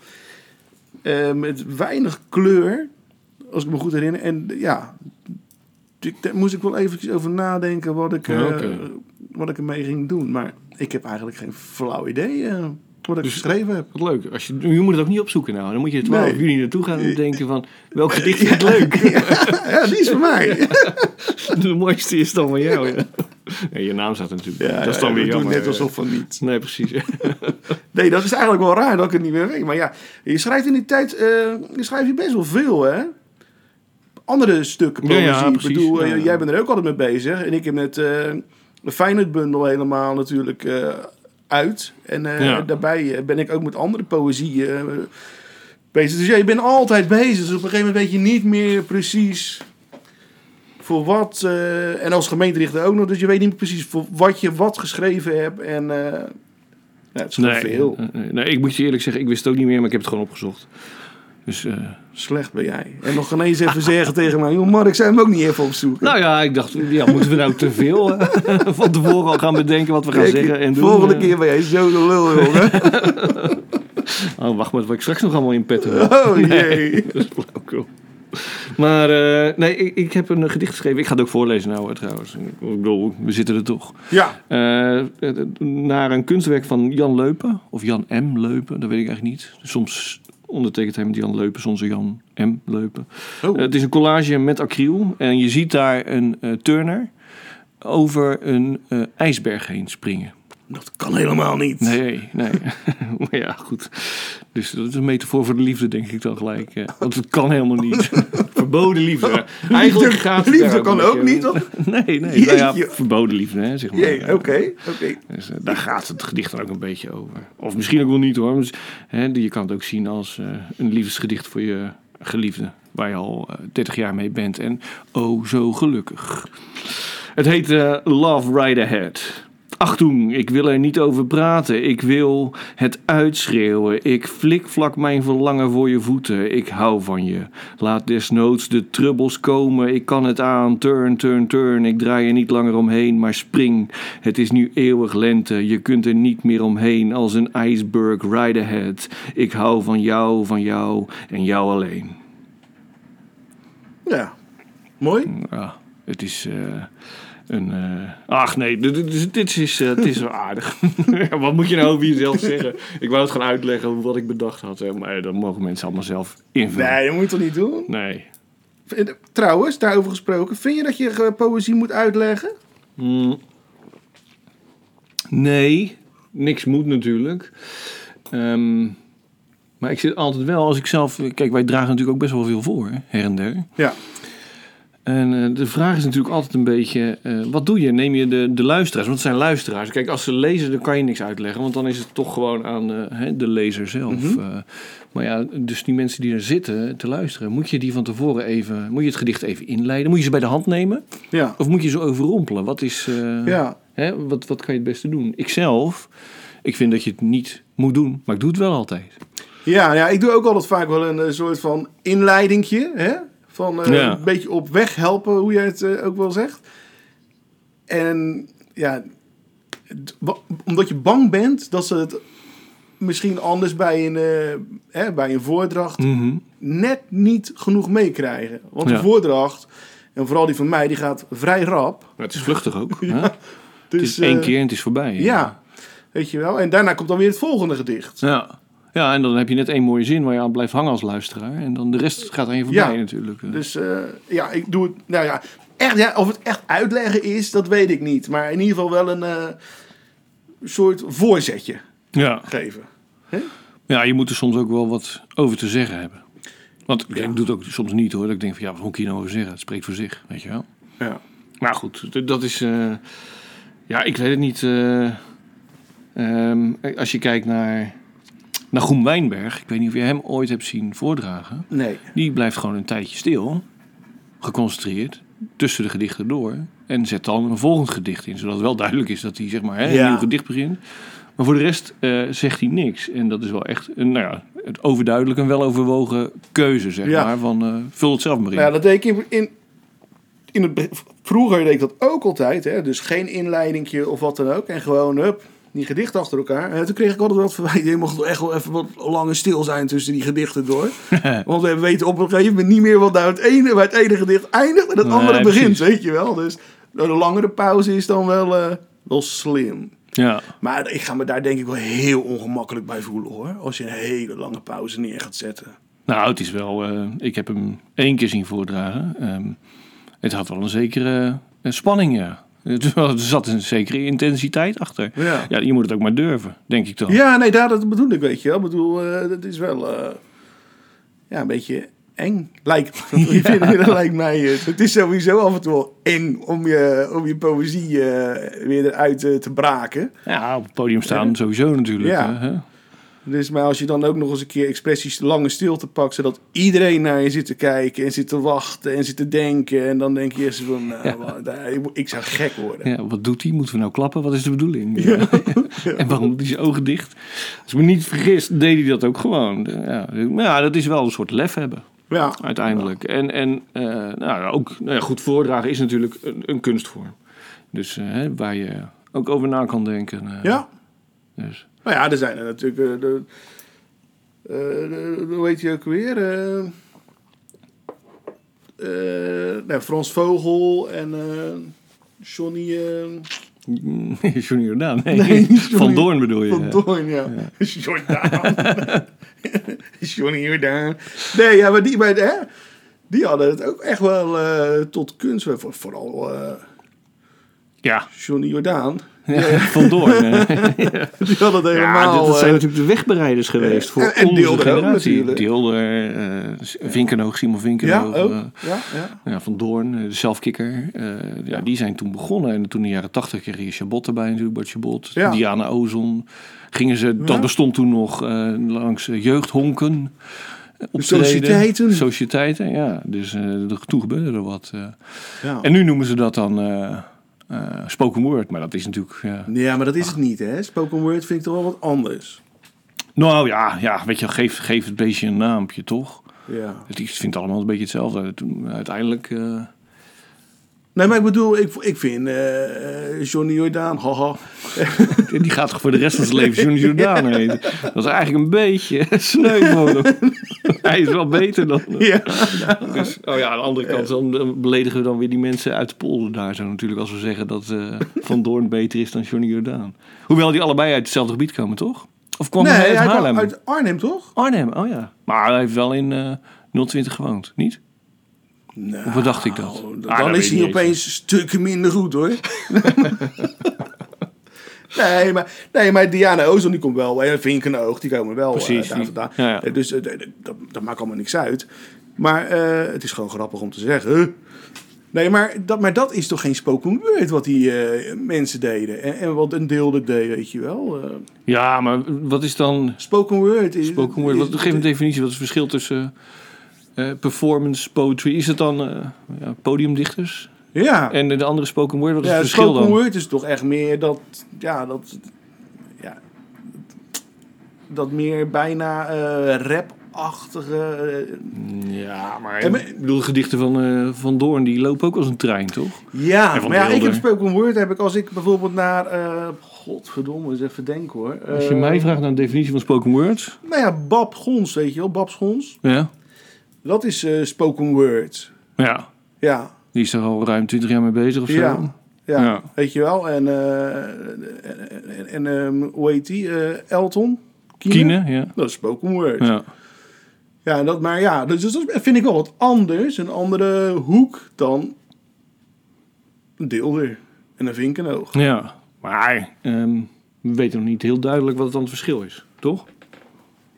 S7: Eh, met weinig kleur, als ik me goed herinner. En eh, ja, ik- daar moest ik wel eventjes over nadenken wat ik, eh,
S6: Ja, oké.
S7: wat ik ermee ging doen. Maar ik heb eigenlijk geen flauw idee eh, wat ik
S6: Dus-
S7: geschreven heb.
S6: Wat leuk. Als je, je moet het ook niet opzoeken nou. Dan moet je 12
S7: Nee.
S6: juni naartoe gaan en denken van... Welk gedicht vind ik leuk?
S7: Ja, die is voor mij.
S6: De mooiste is dan van jou, ja. Ja, je naam staat er natuurlijk.
S7: Ja,
S6: dat is dan weer
S7: we doen
S6: jammer.
S7: net
S6: ja.
S7: alsof van niet.
S6: Nee, precies. ja.
S7: Nee, dat is eigenlijk wel raar dat ik het niet meer weet. Maar ja, je schrijft in die tijd eh, je schrijft je best wel veel, hè? Andere stukken
S6: Ja,
S7: poëzie.
S6: ja,
S7: ik
S6: precies.
S7: bedoel, eh,
S6: Ja, ja.
S7: jij bent er ook altijd mee bezig. En ik heb net eh de Feyenoord-bundel helemaal natuurlijk eh, uit. En eh,
S6: Ja.
S7: daarbij eh, ben ik ook met andere poëzie eh, bezig. Dus ja, je bent altijd bezig. Dus op een gegeven moment weet je niet meer precies voor wat. eh, en als gemeenterichter ook nog. Dus je weet niet meer precies voor wat je wat geschreven hebt. En eh, ja, het is gewoon veel.
S6: eh, eh, nee, ik moet je eerlijk zeggen, ik wist het ook niet meer, maar ik heb het gewoon opgezocht. Dus, eh,
S7: Slecht ben jij. En nog geen eens even zeggen tegen mij. Joh, Mark, zijn we hem ook niet even opzoeken?
S6: nou ja, ik dacht, ja, moeten we nou te veel eh, van tevoren al gaan bedenken wat we gaan
S7: Kijk,
S6: zeggen en doen?
S7: volgende
S6: eh?
S7: keer ben jij zo de lul, jongen.
S6: Oh, wacht maar, wat ik straks nog allemaal in petto heb.
S7: Oh jee.
S6: Dat is flauwkul. Maar eh, nee, ik, ik heb een eh, gedicht geschreven. Ik ga het ook voorlezen nou, eh, trouwens. Ik bedoel, we zitten er toch.
S7: Ja.
S6: Eh, eh, naar een kunstwerk van Jan Leupen. Of Jan M. Leupen, dat weet ik eigenlijk niet. Soms ondertekent hij met Jan Leupen, soms een Jan M. Leupen.
S7: Oh.
S6: Eh, het is een collage met acryl. En je ziet daar een eh, turner over een eh, ijsberg heen springen.
S7: Dat kan helemaal niet.
S6: Nee, nee. maar ja, goed. Dus dat is een metafoor voor de liefde, denk ik dan gelijk. eh. Want het kan helemaal niet. verboden liefde. Eigenlijk
S7: Liefde-
S6: gaat het
S7: liefde
S6: daar
S7: kan
S6: een beetje-
S7: ook niet, toch?
S6: Nee, nee. Nou ja,
S7: Jeetje.
S6: verboden liefde, hè, zeg maar.
S7: Jee,
S6: Ja.
S7: oké, oké.
S6: Dus, eh, daar gaat het gedicht dan ook een beetje over. Of misschien ook wel niet hoor. Dus, hè, je kan het ook zien als eh, een liefdesgedicht voor je geliefde. Waar je al eh, 30 jaar mee bent. En oh, zo gelukkig. Het heet eh, Love Right Ahead. Achtung, ik wil er niet over praten. Ik wil het uitschreeuwen. Ik flikvlak mijn verlangen voor je voeten. Ik hou van je. Laat desnoods de trubbels komen. Ik kan het aan. Turn, turn, turn. Ik draai er niet langer omheen, maar spring. Het is nu eeuwig lente. Je kunt er niet meer omheen als een iceberg right ahead. Ik hou van jou, van jou en jou alleen.
S7: Ja. Mooi.
S6: Ja, het is eh, een. eh, ach nee, dit, dit is- dit is, eh, het is wel aardig. Ja, wat moet je nou over jezelf zeggen? Ik wou het gaan uitleggen hoe- wat ik bedacht had, hè, maar dat mogen mensen allemaal zelf invullen.
S7: Nee, dat moet je toch niet doen?
S6: Nee.
S7: Vind- Trouwens, daarover gesproken. Vind je dat je eh, poëzie moet uitleggen?
S6: Mm. Nee, niks moet natuurlijk. Ehm, maar ik zit altijd wel, als ik zelf. Kijk, wij dragen natuurlijk ook best wel veel voor, hè, her en der.
S7: Ja.
S6: En eh, de vraag is natuurlijk altijd een beetje, eh, wat doe je? Neem je de, de luisteraars? Want het zijn luisteraars. Kijk, als ze lezen, dan kan je niks uitleggen. Want dan is het toch gewoon aan eh, hè, de lezer zelf.
S7: Mhm.
S6: Eh, maar ja, dus die mensen die daar zitten te luisteren, moet je die van tevoren even, moet je het gedicht even inleiden? Moet je ze bij de hand nemen?
S7: Ja.
S6: Of moet je ze overrompelen? Wat is, eh,
S7: Ja.
S6: hè, wat, wat kan je het beste doen? Ikzelf, ik vind dat je het niet moet doen, maar ik doe het wel altijd.
S7: Ja, nou ja, ik doe ook altijd vaak wel een eh, soort van inleidingje. Hè? Van eh,
S6: Ja.
S7: een beetje op weg helpen, hoe jij het eh, ook wel zegt. En ja, het- wa- omdat je bang bent dat ze het misschien anders bij een, eh, hè, bij een voordracht net niet genoeg meekrijgen. Want
S6: Ja.
S7: een voordracht, en vooral die van mij, die gaat vrij rap.
S6: Maar het is vluchtig ook. hè?
S7: Dus,
S6: het is één
S7: eh,
S6: keer en het is voorbij.
S7: Ja, weet je wel. En daarna komt dan weer het volgende gedicht.
S6: Ja. ja, en dan heb je net één mooie zin waar je aan blijft hangen als luisteraar. En dan de rest gaat aan je voorbij
S7: Ja.
S6: natuurlijk.
S7: Dus eh, ja, ik doe het. Nou ja, echt, ja, of het echt uitleggen is, dat weet ik niet. Maar in ieder geval wel een eh, soort voorzetje
S6: ja.
S7: geven.
S6: ja, je moet er soms ook wel wat over te zeggen hebben. Want ik doe het ook soms niet hoor. Dat ik denk van ja, wat moet ik hier nou over zeggen? Het spreekt voor zich, weet je wel.
S7: Ja.
S6: Maar Nou goed, d- dat is... eh, ja, ik weet het niet. eh, ehm, als je kijkt naar, naar Groen Wijnberg. Ik weet niet of je hem ooit hebt zien voordragen.
S7: Nee.
S6: Die blijft gewoon een tijdje stil, geconcentreerd, tussen de gedichten door. En zet dan een volgend gedicht in, zodat wel duidelijk is dat hij zeg maar, hè, een
S7: Ja.
S6: nieuw gedicht begint. Maar voor de rest eh, zegt hij niks. En dat is wel echt een, nou ja, het overduidelijk een weloverwogen keuze, zeg
S7: Ja.
S6: maar. Van, eh, vul het zelf maar in.
S7: Nou, ja, dat deed ik in, in, in het, be- vroeger deed ik dat ook altijd. Hè? Dus geen inleidingje of wat dan ook. En gewoon, hup, die gedichten achter elkaar. En toen kreeg ik altijd wat verwijt. Je mocht echt wel even wat langer stil zijn tussen die gedichten door. Want we weten op een gegeven moment niet meer wat nou het ene, waar het ene gedicht eindigt en het
S6: Nee,
S7: andere
S6: precies.
S7: begint. Weet je wel. Dus een langere pauze is dan wel, eh, wel slim.
S6: Ja.
S7: Maar ik ga me daar denk ik wel heel ongemakkelijk bij voelen hoor. Als je een hele lange pauze neer gaat zetten.
S6: Nou, het is wel. eh, ik heb hem één keer zien voordragen. Ehm, het had wel een zekere eh, spanning, ja. Het- Er zat een zekere intensiteit achter.
S7: Ja.
S6: je moet het ook maar durven, denk ik dan.
S7: Ja, nee, daar, dat bedoel ik, weet je wel. Ik bedoel, eh, dat is wel eh, ja, een beetje eng. Lijkt, je vindt me, dat lijkt mij eh, het. Het is sowieso af en toe wel eng om je, om je poëzie eh, weer eruit eh, te braken.
S6: Ja, op het podium staan sowieso natuurlijk.
S7: Ja.
S6: hè.
S7: Dus, maar als je dan ook nog eens een keer expressies lange stilte pakt, zodat iedereen naar je zit te kijken en zit te wachten en zit te denken. En dan denk je eerst van, nou, wat, eh, ik zou gek worden.
S6: Ja, wat doet hij? Moeten we nou klappen? Wat is de bedoeling? en waarom doet hij zijn ogen dicht? Als ik me niet vergis, deed hij dat ook gewoon. Ja, maar ja, dat is wel een soort lef hebben.
S7: Ja,
S6: uiteindelijk. En, en eh, nou, ook nou ja, goed voordragen is natuurlijk een, een kunstvorm. Dus eh, hè, waar je ook over na kan denken. eh.
S7: ja.
S6: Dus.
S7: Nou ja, er zijn er natuurlijk. eh, de, eh, de- hoe heet je ook weer? eh eh, nou, Frans Vogel en eh, Johnny eh,
S6: Johnny Jordaan. Nee,
S7: sorry.
S6: Van Doorn bedoel je.
S7: Van Doorn, ja. Jordaan. Johnny Jordaan. Nee, ja, maar die, maar, hè, die hadden het ook echt wel eh, tot kunst. Voor- Vooral eh,
S6: Ja,
S7: Johnny Jordaan.
S6: ja, Van Doorn. eh.
S7: Die hadden
S6: ja,
S7: het helemaal...
S6: dat, dat zijn
S7: eh,
S6: natuurlijk de wegbereiders geweest voor
S7: en- en
S6: onze
S7: Deelder ook
S6: generatie.
S7: natuurlijk.
S6: Deelder, eh, Vinkenoog, Simon
S7: ja,
S6: Vinkenoog.
S7: ook.
S6: eh,
S7: Ja, ja.
S6: ja, Van Doorn, eh, de zelfkikker. eh, ja, die zijn toen begonnen. En toen in de jaren tachtig kreeg je Chabot erbij natuurlijk, Bart Chabot.
S7: Ja.
S6: Diana Ozon. Gingen ze, dat bestond toen nog, eh, langs eh, jeugdhonken. eh, optreden.
S7: Sociëteiten.
S6: Sociëteiten, ja. Dus eh, er- toen gebeurde er wat. eh.
S7: Ja.
S6: En nu noemen ze dat dan eh, eh, spoken word. Maar dat is natuurlijk... ja.
S7: Ja, maar dat is het niet, hè? Spoken word vind ik toch wel wat anders.
S6: nou ja, ja, weet je, geef, geef het beestje een naampje, toch?
S7: Ja.
S6: Het- Ik vind het allemaal een beetje hetzelfde. Toen, uiteindelijk... eh,
S7: Nee, maar ik bedoel, ik, ik vind eh, Johnny Jordaan, haha.
S6: Die gaat toch voor de rest van zijn leven Johnny Jordaan heten. Dat is eigenlijk een beetje sneu voor hem. Hij is wel beter dan...
S7: Ja.
S6: Dus, oh ja, aan de andere kant dan, dan beledigen we dan weer die mensen uit de polder daar zo natuurlijk. Als we zeggen dat eh, Van Doorn beter is dan Johnny Jordaan. Hoewel die allebei uit hetzelfde gebied komen, toch? Of kwam
S7: Nee,
S6: hij uit
S7: hij kwam
S6: Haarlem?
S7: uit Arnhem, toch?
S6: Arnhem, oh ja. Maar hij heeft wel in eh 020 gewoond, niet?
S7: Nou,
S6: Of wat dacht ik dat?
S7: dan
S6: Ah, dat weet
S7: is hij
S6: ik niet eens.
S7: opeens stukken minder goed, hoor. nee, maar, nee, maar Diana Ozon, die komt wel. eh, En Vinkenoog, die komen wel eh,
S6: Precies,
S7: daar
S6: die-
S7: vandaan.
S6: ja, ja.
S7: Eh, Dus eh, d- d- dat, dat maakt allemaal niks uit. Maar eh, het is gewoon grappig om te zeggen. huh? Nee, maar dat, maar dat is toch geen spoken word wat die eh, mensen deden. En, en wat een deelde deed, weet je wel. Eh,
S6: Ja, maar wat is dan...
S7: spoken word is...
S6: Spoken word. Wat,
S7: is-
S6: geef een definitie. Wat is het verschil tussen eh, performance, poetry? Is het dan eh, ja, podiumdichters?
S7: Ja.
S6: En Dus de andere spoken word, wat is
S7: Ja,
S6: het
S7: het
S6: verschil
S7: spoken
S6: dan?
S7: word is toch echt meer dat... Ja, dat... Ja, dat meer bijna eh rapachtige... eh,
S6: Ja, maar...
S7: Ja, maar-
S6: Ik bedoel, de gedichten van, eh, van Doorn, die lopen ook als een trein, toch?
S7: ja,
S6: En van
S7: maar ja, ik
S6: Deelder.
S7: heb spoken word heb ik als ik bijvoorbeeld naar... eh godverdomme, eens even denken hoor.
S6: Als je
S7: Eh,
S6: mij vraagt naar de definitie van spoken word...
S7: Nou ja, Bab Gons, weet je wel. Bab Gons.
S6: Ja,
S7: Dat is eh, spoken word.
S6: ja
S7: Ja,
S6: die is er al ruim 20 jaar mee bezig of zo.
S7: Ja. ja,
S6: Ja.
S7: weet je wel. En, eh, en, en, en, ehm, hoe heet die? Eh, Elton?
S6: Kine, ja.
S7: Dat is spoken word.
S6: ja.
S7: Ja, dat, maar ja, dus dat vind ik wel wat anders. Een andere hoek dan een deelder en een vinkenoog.
S6: Ja, maar ehm, we weten nog niet heel duidelijk wat dan het verschil is, toch?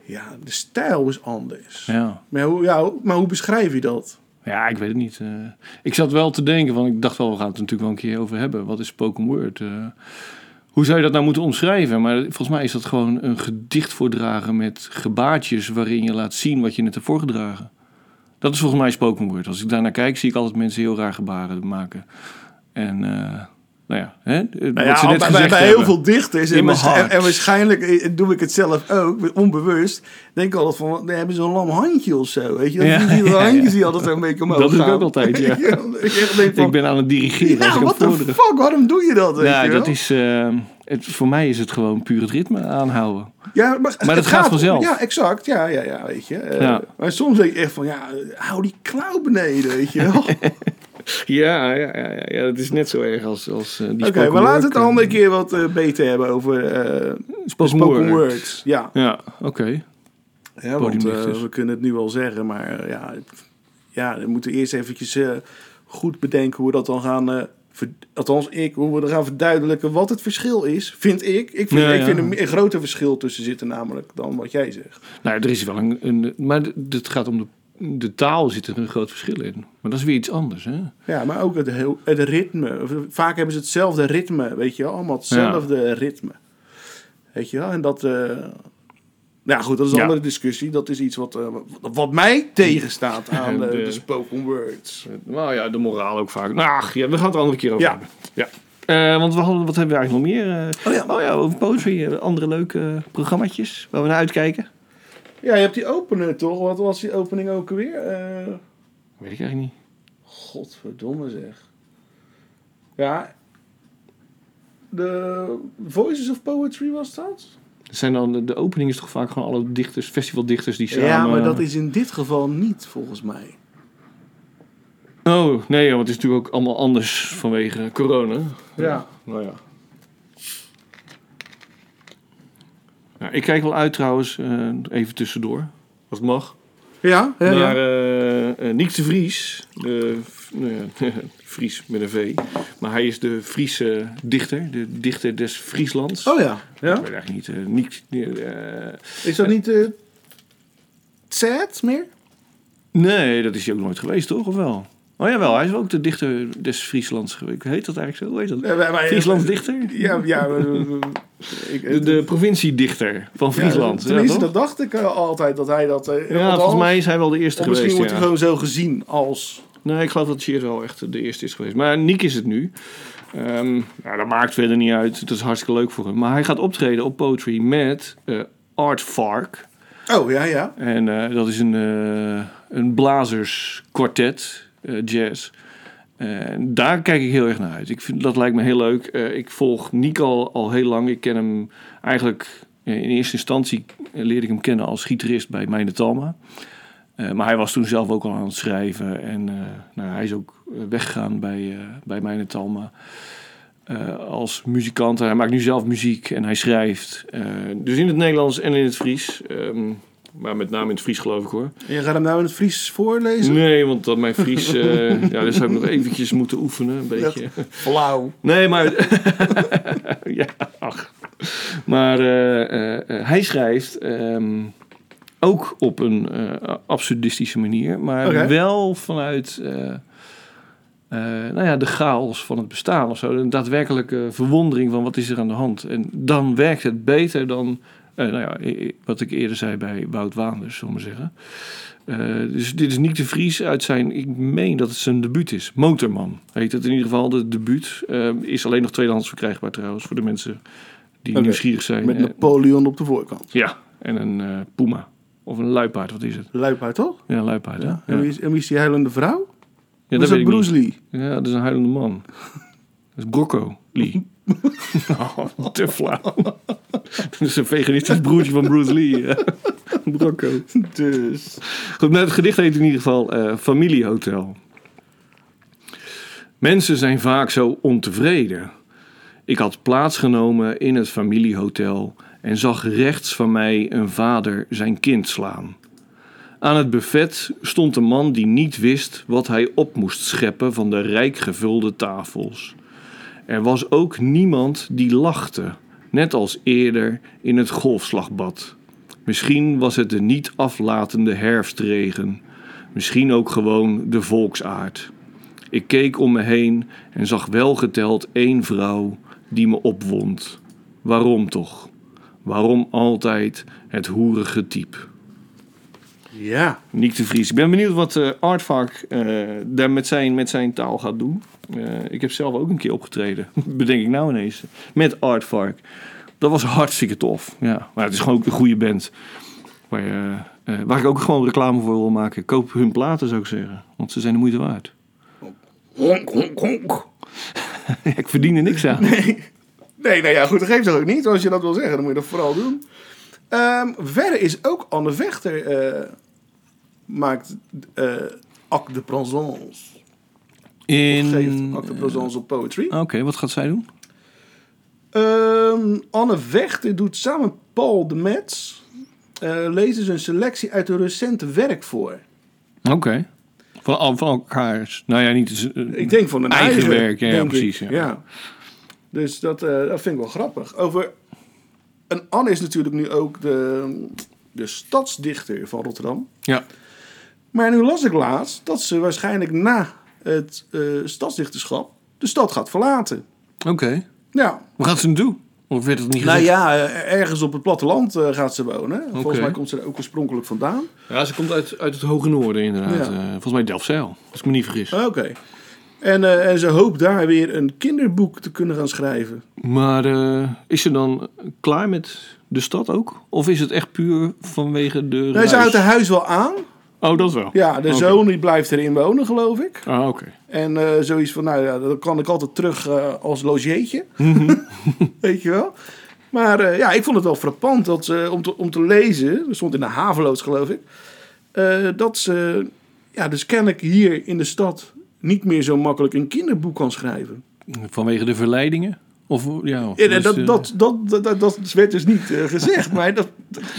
S7: Ja, de stijl is anders.
S6: Ja.
S7: Maar, hoe, ja, hoe- maar hoe beschrijf je dat?
S6: Ja, ik weet het niet. eh. ik zat wel te denken, want ik dacht wel, we gaan het er natuurlijk wel een keer over hebben. Wat is spoken word? eh? hoe zou je dat nou moeten omschrijven? Maar volgens mij is dat gewoon een gedicht voordragen met gebaartjes waarin je laat zien wat je net hebt voorgedragen. Dat is volgens mij spoken word. Als ik daarnaar kijk, zie ik altijd mensen heel raar gebaren maken. En eh, nou ja, hè? wat ze net
S7: bij,
S6: gezegd
S7: bij heel
S6: hebben.
S7: veel dichters en,
S6: In mijn
S7: waarsch- en,
S6: hart.
S7: en waarschijnlijk eh, doe ik het zelf ook, onbewust. Denk ik altijd van, wat, hebben ze een lam handje of zo, weet je? Dat
S6: Ja,
S7: die, die
S6: ja,
S7: handjes
S6: ja.
S7: die altijd zo een beetje omhoog
S6: Dat doe ik
S7: gaan.
S6: ook altijd, ja.
S7: dat ik echt denk van,
S6: Ik ben aan het dirigeren als
S7: ja,
S6: ik hem
S7: what the
S6: voordraag.
S7: fuck, waarom doe je dat? Weet
S6: Ja,
S7: je
S6: dat
S7: wel?
S6: is, eh, het, voor mij is het gewoon puur het ritme aanhouden.
S7: Ja, maar,
S6: Maar dat gaat vanzelf.
S7: Ja, exact. Ja, ja, ja, weet je. Eh,
S6: Ja.
S7: Maar soms denk ik echt van, ja, eh, hou die klauw beneden, weet je wel. Oké,
S6: Ja, ja, ja, ja, ja, dat is net zo erg als, als eh, die Oké,
S7: maar laten we het een andere keer wat eh, beter hebben over eh,
S6: Spoken,
S7: spoken
S6: word.
S7: words. Ja,
S6: Ja, oké.
S7: ja want eh,
S6: Podiumdichters.
S7: we kunnen het nu wel zeggen, maar eh, ja, het- ja, we moeten eerst eventjes eh, goed bedenken hoe we dat dan gaan... eh, ver- Althans, ik, hoe we dan gaan verduidelijken wat het verschil is, vind ik. Ik vind,
S6: Ja,
S7: ik
S6: ja.
S7: vind een, een groter verschil tussen zitten namelijk dan wat jij zegt.
S6: Nou, er is wel een... een maar d- dit gaat om de de taal zit er een groot verschil in. Maar dat is weer iets anders. Hè?
S7: Ja, maar ook het, heel, het ritme. eh, Vaak hebben ze hetzelfde ritme, weet je wel. Allemaal hetzelfde ritme. Weet je wel, en dat... eh, Nou ja, goed, dat is een
S6: Ja.
S7: andere discussie. Dat is iets wat, eh, wat, wat mij tegenstaat aan eh,
S6: De-
S7: de spoken words.
S6: Nou ja, de moraal ook vaak. Nou, ach, ja, we gaan het een andere keer over
S7: Ja.
S6: hebben. Ja. Eh, want we hadden, wat hebben we eigenlijk nog meer? eh?
S7: Oh ja.
S6: oh ja, over poetry. eh, Andere leuke eh, programmaatjes waar we naar uitkijken.
S7: Ja, je hebt die opener toch? Wat was die opening ook weer? Eh
S6: Weet ik eigenlijk niet.
S7: godverdomme zeg. Ja. De Voices of Poetry was dat?
S6: Het Zijn dan, de- de opening is toch vaak gewoon alle dichters, festivaldichters die samen...
S7: Ja, maar dat is in dit geval niet volgens mij.
S6: Oh, nee, ja, want het is natuurlijk ook allemaal anders vanwege corona.
S7: Ja.
S6: Nou ja. Nou, ik kijk wel uit trouwens, eh, even tussendoor, als het mag.
S7: Ja, ja, ja.
S6: naar eh, eh, Niek de Vries. De, v- nou ja, Vries met een V. Maar hij is de Friese dichter, de dichter des Frieslands.
S7: Oh ja. ja?
S6: Ik weet eigenlijk niet, eh, Niek... eh,
S7: Is dat niet eh sad meer?
S6: nee, dat is hij ook nooit geweest, toch? Of wel? Oh jawel, hij is ook de dichter des Frieslands geweest. Heet dat eigenlijk zo? Hoe heet dat?
S7: Eh, wij- wij-
S6: Frieslands dichter?
S7: Ja, ja. we- we- we- ik,
S6: De, de provinciedichter van Friesland. Ja,
S7: Ja, tenminste,
S6: toch?
S7: dat dacht ik eh, altijd dat hij dat. eh, want
S6: ja,
S7: anders-
S6: volgens mij is hij wel de eerste
S7: of misschien
S6: geweest.
S7: wordt
S6: ja.
S7: hij gewoon zo gezien als.
S6: Nee, ik geloof dat Sheer wel echt de eerste is geweest. Maar Niek is het nu. Ehm, nou, dat maakt verder niet uit. Dat is hartstikke leuk voor hem. Maar hij gaat optreden op Poetry met eh, Art Vark.
S7: Oh ja, ja.
S6: En eh, dat is een, eh, een blazerskwartet, eh, jazz. En daar kijk ik heel erg naar uit. Ik vind, dat lijkt me heel leuk. Eh, ik volg Niek al, al heel lang. Ik ken hem eigenlijk eh, in eerste instantie eh, leerde ik hem kennen als gitarist bij Mijne Talma. Eh, maar hij was toen zelf ook al aan het schrijven. En eh, nou, hij is ook eh, weggegaan bij, eh, bij Mijne Talma. eh, als muzikant. Hij maakt nu zelf muziek en hij schrijft. Eh, dus in het Nederlands en in het Fries. Ehm, maar met name in het Fries geloof ik hoor.
S7: En je gaat hem nou in het Fries voorlezen?
S6: Nee, want dat mijn Fries... eh ja, dat zou ik nog eventjes moeten oefenen. Een beetje.
S7: Flauw.
S6: Nee, maar. ja, ach. Maar eh, eh, eh, hij schrijft ehm, ook op een eh, absurdistische manier, maar
S7: Oké.
S6: wel vanuit. eh, eh, nou ja, de chaos van het bestaan of zo. Een daadwerkelijke verwondering van wat is er aan de hand. En dan werkt het beter dan, eh, nou ja, eh, eh, wat ik eerder zei bij Wout Waanders, zullen we maar zeggen. Eh, dus dit is Nick de Vries uit zijn, ik meen dat het zijn debuut is. Motorman heet het in ieder geval, de debuut. Eh, is alleen nog tweedehands verkrijgbaar trouwens voor de mensen die
S7: Oké,
S6: nieuwsgierig zijn.
S7: Met
S6: Eh,
S7: Napoleon op de voorkant.
S6: ja, en een eh, puma. Of een luipaard, wat is het?
S7: Luipaard toch?
S6: Ja, een luipaard, hè? Ja,
S7: En, wie is, en wie is die huilende vrouw?
S6: Ja,
S7: Of is dat
S6: ik
S7: Bruce
S6: niet.
S7: Lee?
S6: Ja, dat is een huilende man. Dat is Brocco Lee. oh, te flauw. dat is een veganistisch broertje van Bruce Lee. ja. Brocco.
S7: Dus.
S6: Goed, nou, het gedicht heet in ieder geval eh, Familiehotel. Mensen zijn vaak zo ontevreden. Ik had plaatsgenomen in het familiehotel en zag rechts van mij een vader zijn kind slaan. Aan het buffet stond een man die niet wist wat hij op moest scheppen van de rijk gevulde tafels. Er was ook niemand die lachte, net als eerder in het golfslagbad. Misschien was het de niet aflatende herfstregen. Misschien ook gewoon de volksaard. Ik keek om me heen en zag welgeteld één vrouw die me opwond. Waarom toch? Waarom altijd het hoerige type?
S7: Ja.
S6: Niek de Vries. Ik ben benieuwd wat eh Artvak eh, daar met zijn, met zijn taal gaat doen. Eh, ik heb zelf ook een keer opgetreden, bedenk ik nou ineens, met Artvak. Dat was hartstikke tof. Ja. Maar het is gewoon ook een goede band. Waar, je, eh, waar ik ook gewoon reclame voor wil maken. Koop hun platen, zou ik zeggen. Want ze zijn de moeite waard.
S7: Honk, honk, honk.
S6: ik verdien er niks aan.
S7: Nee, nou ja, goed, dat geeft toch ook niet. Als je dat wil zeggen, dan moet je dat vooral doen. Ehm, verder is ook Anne Vechter eh, maakt eh Acte de Présence.
S6: In...
S7: Geeft Acte de
S6: Oké,
S7: Présence op Poetry.
S6: wat gaat zij doen?
S7: Ehm, Anne Vechter doet samen met Paul de Mets... eh, lezen ze een selectie uit hun recente werk voor.
S6: Oké. Van, al- van elkaar. Nou ja, niet... eh,
S7: Ik denk van een
S6: Eigen
S7: eigen,
S6: werk, ja, ja,
S7: denk ik.
S6: precies, ja.
S7: Dus dat, eh, dat vind ik wel grappig. Over. En Anne is natuurlijk nu ook de, de stadsdichter van Rotterdam.
S6: Ja.
S7: Maar nu las ik laatst dat ze waarschijnlijk na het eh stadsdichterschap de stad gaat verlaten.
S6: Oké.
S7: Ja,
S6: Hoe gaan ze het doen? Of werd het niet
S7: nou
S6: gezegd?
S7: ja, eh, ergens op het platteland eh, gaat ze wonen. Volgens
S6: Oké.
S7: mij komt ze daar ook oorspronkelijk vandaan.
S6: Ja, ze komt uit, uit het hoge noorden inderdaad.
S7: Ja.
S6: Eh, volgens mij Delfzijl, als ik me niet vergis.
S7: Ah, Oké. En, eh, en ze hoopt daar weer een kinderboek te kunnen gaan schrijven.
S6: Maar eh, is ze dan klaar met de stad ook? Of is het echt puur vanwege de
S7: Nee,
S6: ruis?
S7: ze houdt haar huis wel aan.
S6: Oh, dat wel?
S7: Ja, de
S6: Oké.
S7: zoon die blijft erin wonen, geloof ik.
S6: Ah, oké.
S7: En eh, zoiets van, nou ja, dan kan ik altijd terug eh, als logeetje.
S6: Mhm.
S7: Weet je wel? Maar eh, ja, ik vond het wel frappant dat ze, om, te, om te lezen, dat stond in de Haveloos geloof ik, eh, dat ze, ja, dus kennelijk hier in de stad niet meer zo makkelijk een kinderboek kan schrijven.
S6: Vanwege de verleidingen? Of, ja, of dus, eh,
S7: En, en
S6: is de-
S7: dat, dat, dat, dat, dat, dat werd dus niet eh, gezegd. Maar dat,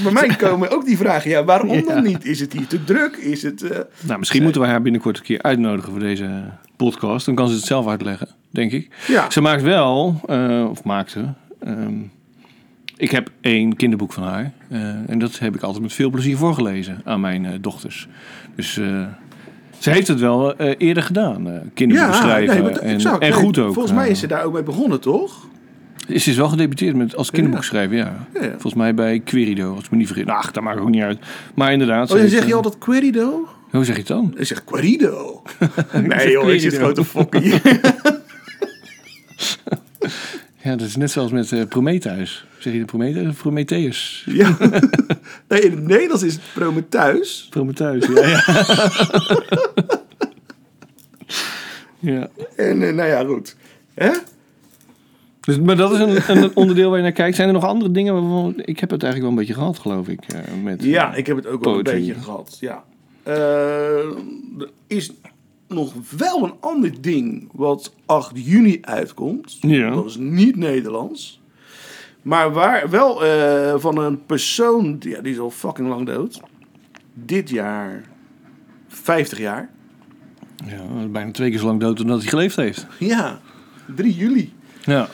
S7: bij mij komen ook die vragen, ja, waarom
S6: Ja.
S7: dan niet? Is het hier te druk? Is het... eh,
S6: Nou, misschien moeten we haar binnenkort een keer uitnodigen voor deze podcast. Dan kan ze het zelf uitleggen, denk ik.
S7: Ja.
S6: Ze maakt wel, eh, of maakte. ehm, ik heb één kinderboek van haar. eh, en dat heb ik altijd met veel plezier voorgelezen aan mijn eh, dochters. Dus eh, ze heeft het wel eh, eerder gedaan. eh kinderboeken schrijven.
S7: nee, maar dat-
S6: en,
S7: exact.
S6: en
S7: Nee,
S6: goed ook.
S7: Volgens mij
S6: eh.
S7: is ze daar ook mee begonnen, toch? Oh,
S6: Is dus wel gedebuteerd met, als kinderboekschrijver, ja.
S7: Ja, ja.
S6: Volgens mij bij Querido, als ik me niet vergis. Nou, Ach, dat maakt ook niet uit. Maar inderdaad.
S7: Oh,
S6: ze
S7: dan
S6: heeft,
S7: zeg je
S6: eh,
S7: altijd Querido?
S6: Hoe zeg je het dan?
S7: Ik zeg Querido. nee joh, ik zit
S6: Querido.
S7: gewoon te fokken hier.
S6: Ja, dat is net zoals met eh, Prometheus. Zeg je de Prometheus of Prometheus?
S7: ja. Nee, in het Nederlands is het Prometheus.
S6: Prometheus, ja. Ja. ja.
S7: En eh, nou ja, goed. Hè?
S6: Dus, maar dat is een, een onderdeel waar je naar kijkt. Zijn er nog andere dingen? waarvan- Ik heb het eigenlijk wel een beetje gehad, geloof ik. eh, met,
S7: Ja, ik heb het ook wel een
S6: Poetry.
S7: beetje gehad. Ja. Eh, er is nog wel een ander ding wat 8 juni uitkomt.
S6: Ja.
S7: Dat is niet Nederlands. Maar waar wel eh, van een persoon, ja, die is al fucking lang dood. Dit jaar 50 jaar.
S6: Ja, hij is bijna twee keer zo lang dood dan dat hij geleefd heeft.
S7: Ja, 3 juli.
S6: Ja.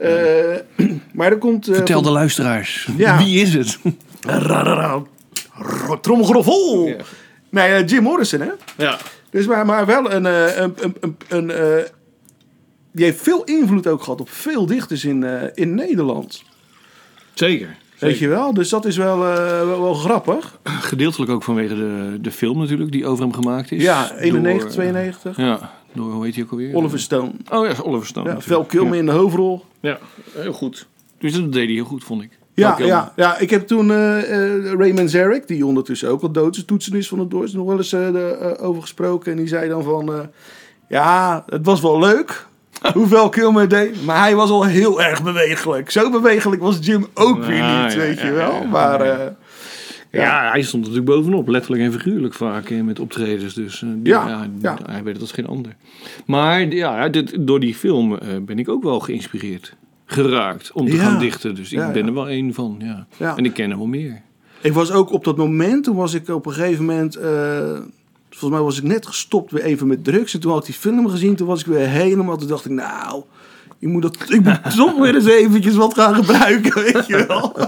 S7: Eh, maar er komt. eh,
S6: Vertel de luisteraars.
S7: Ja.
S6: Wie is het?
S7: Rarara. Ro- Tromgeroffel.
S6: Ja.
S7: Nee, eh, Jim Morrison, hè?
S6: Ja.
S7: Dus maar, maar wel een. eh, een, een, een, een, eh, die heeft veel invloed ook gehad op veel dichters in, eh, in Nederland.
S6: Zeker.
S7: Weet je wel? Dus dat is wel, eh, wel, wel grappig.
S6: Gedeeltelijk ook vanwege de, de film natuurlijk, die over hem gemaakt is.
S7: Ja, 91,
S6: Door, eh,
S7: 92.
S6: Ja, door, hoe heet hij ook alweer?
S7: Oliver Stone.
S6: Oh ja, Oliver Stone.
S7: Ja, Val
S6: natuurlijk.
S7: Kilmer in de hoofdrol.
S6: Ja, heel goed. Dus dat deed hij heel goed, vond ik.
S7: Ja,
S6: Val Kilmer.
S7: ja, ja, ik heb toen eh eh Ray Manzarek, die ondertussen ook al dood is, toetsen is van het Doors, nog wel eens eh, de- eh, over gesproken. En die zei dan van, eh, ja, het was wel leuk hoeveel Kilmer deed, maar hij was al heel erg bewegelijk. Zo bewegelijk was Jim ook weer
S6: Ah,
S7: niet,
S6: ja,
S7: weet
S6: ja,
S7: je wel.
S6: ja, ja.
S7: maar eh,
S6: Ja. hij stond natuurlijk bovenop, letterlijk en figuurlijk vaak eh, met optredens. Dus eh, die-
S7: Ja,
S6: ja, die-
S7: ja.
S6: hij weet het als geen ander. Maar ja, dit, door die film eh, ben ik ook wel geïnspireerd, geraakt om te
S7: Ja.
S6: gaan dichten. Dus ik
S7: Ja,
S6: ben
S7: ja.
S6: er wel één van. Ja.
S7: Ja.
S6: En ik ken er wel meer.
S7: ik was ook op dat moment, toen was ik op een gegeven moment, eh, volgens mij was ik net gestopt weer even met drugs. En toen had ik die film gezien, toen was ik weer helemaal, toen dacht ik, nou... Ik moet, dat, ik moet toch weer eens eventjes wat gaan gebruiken, weet je wel.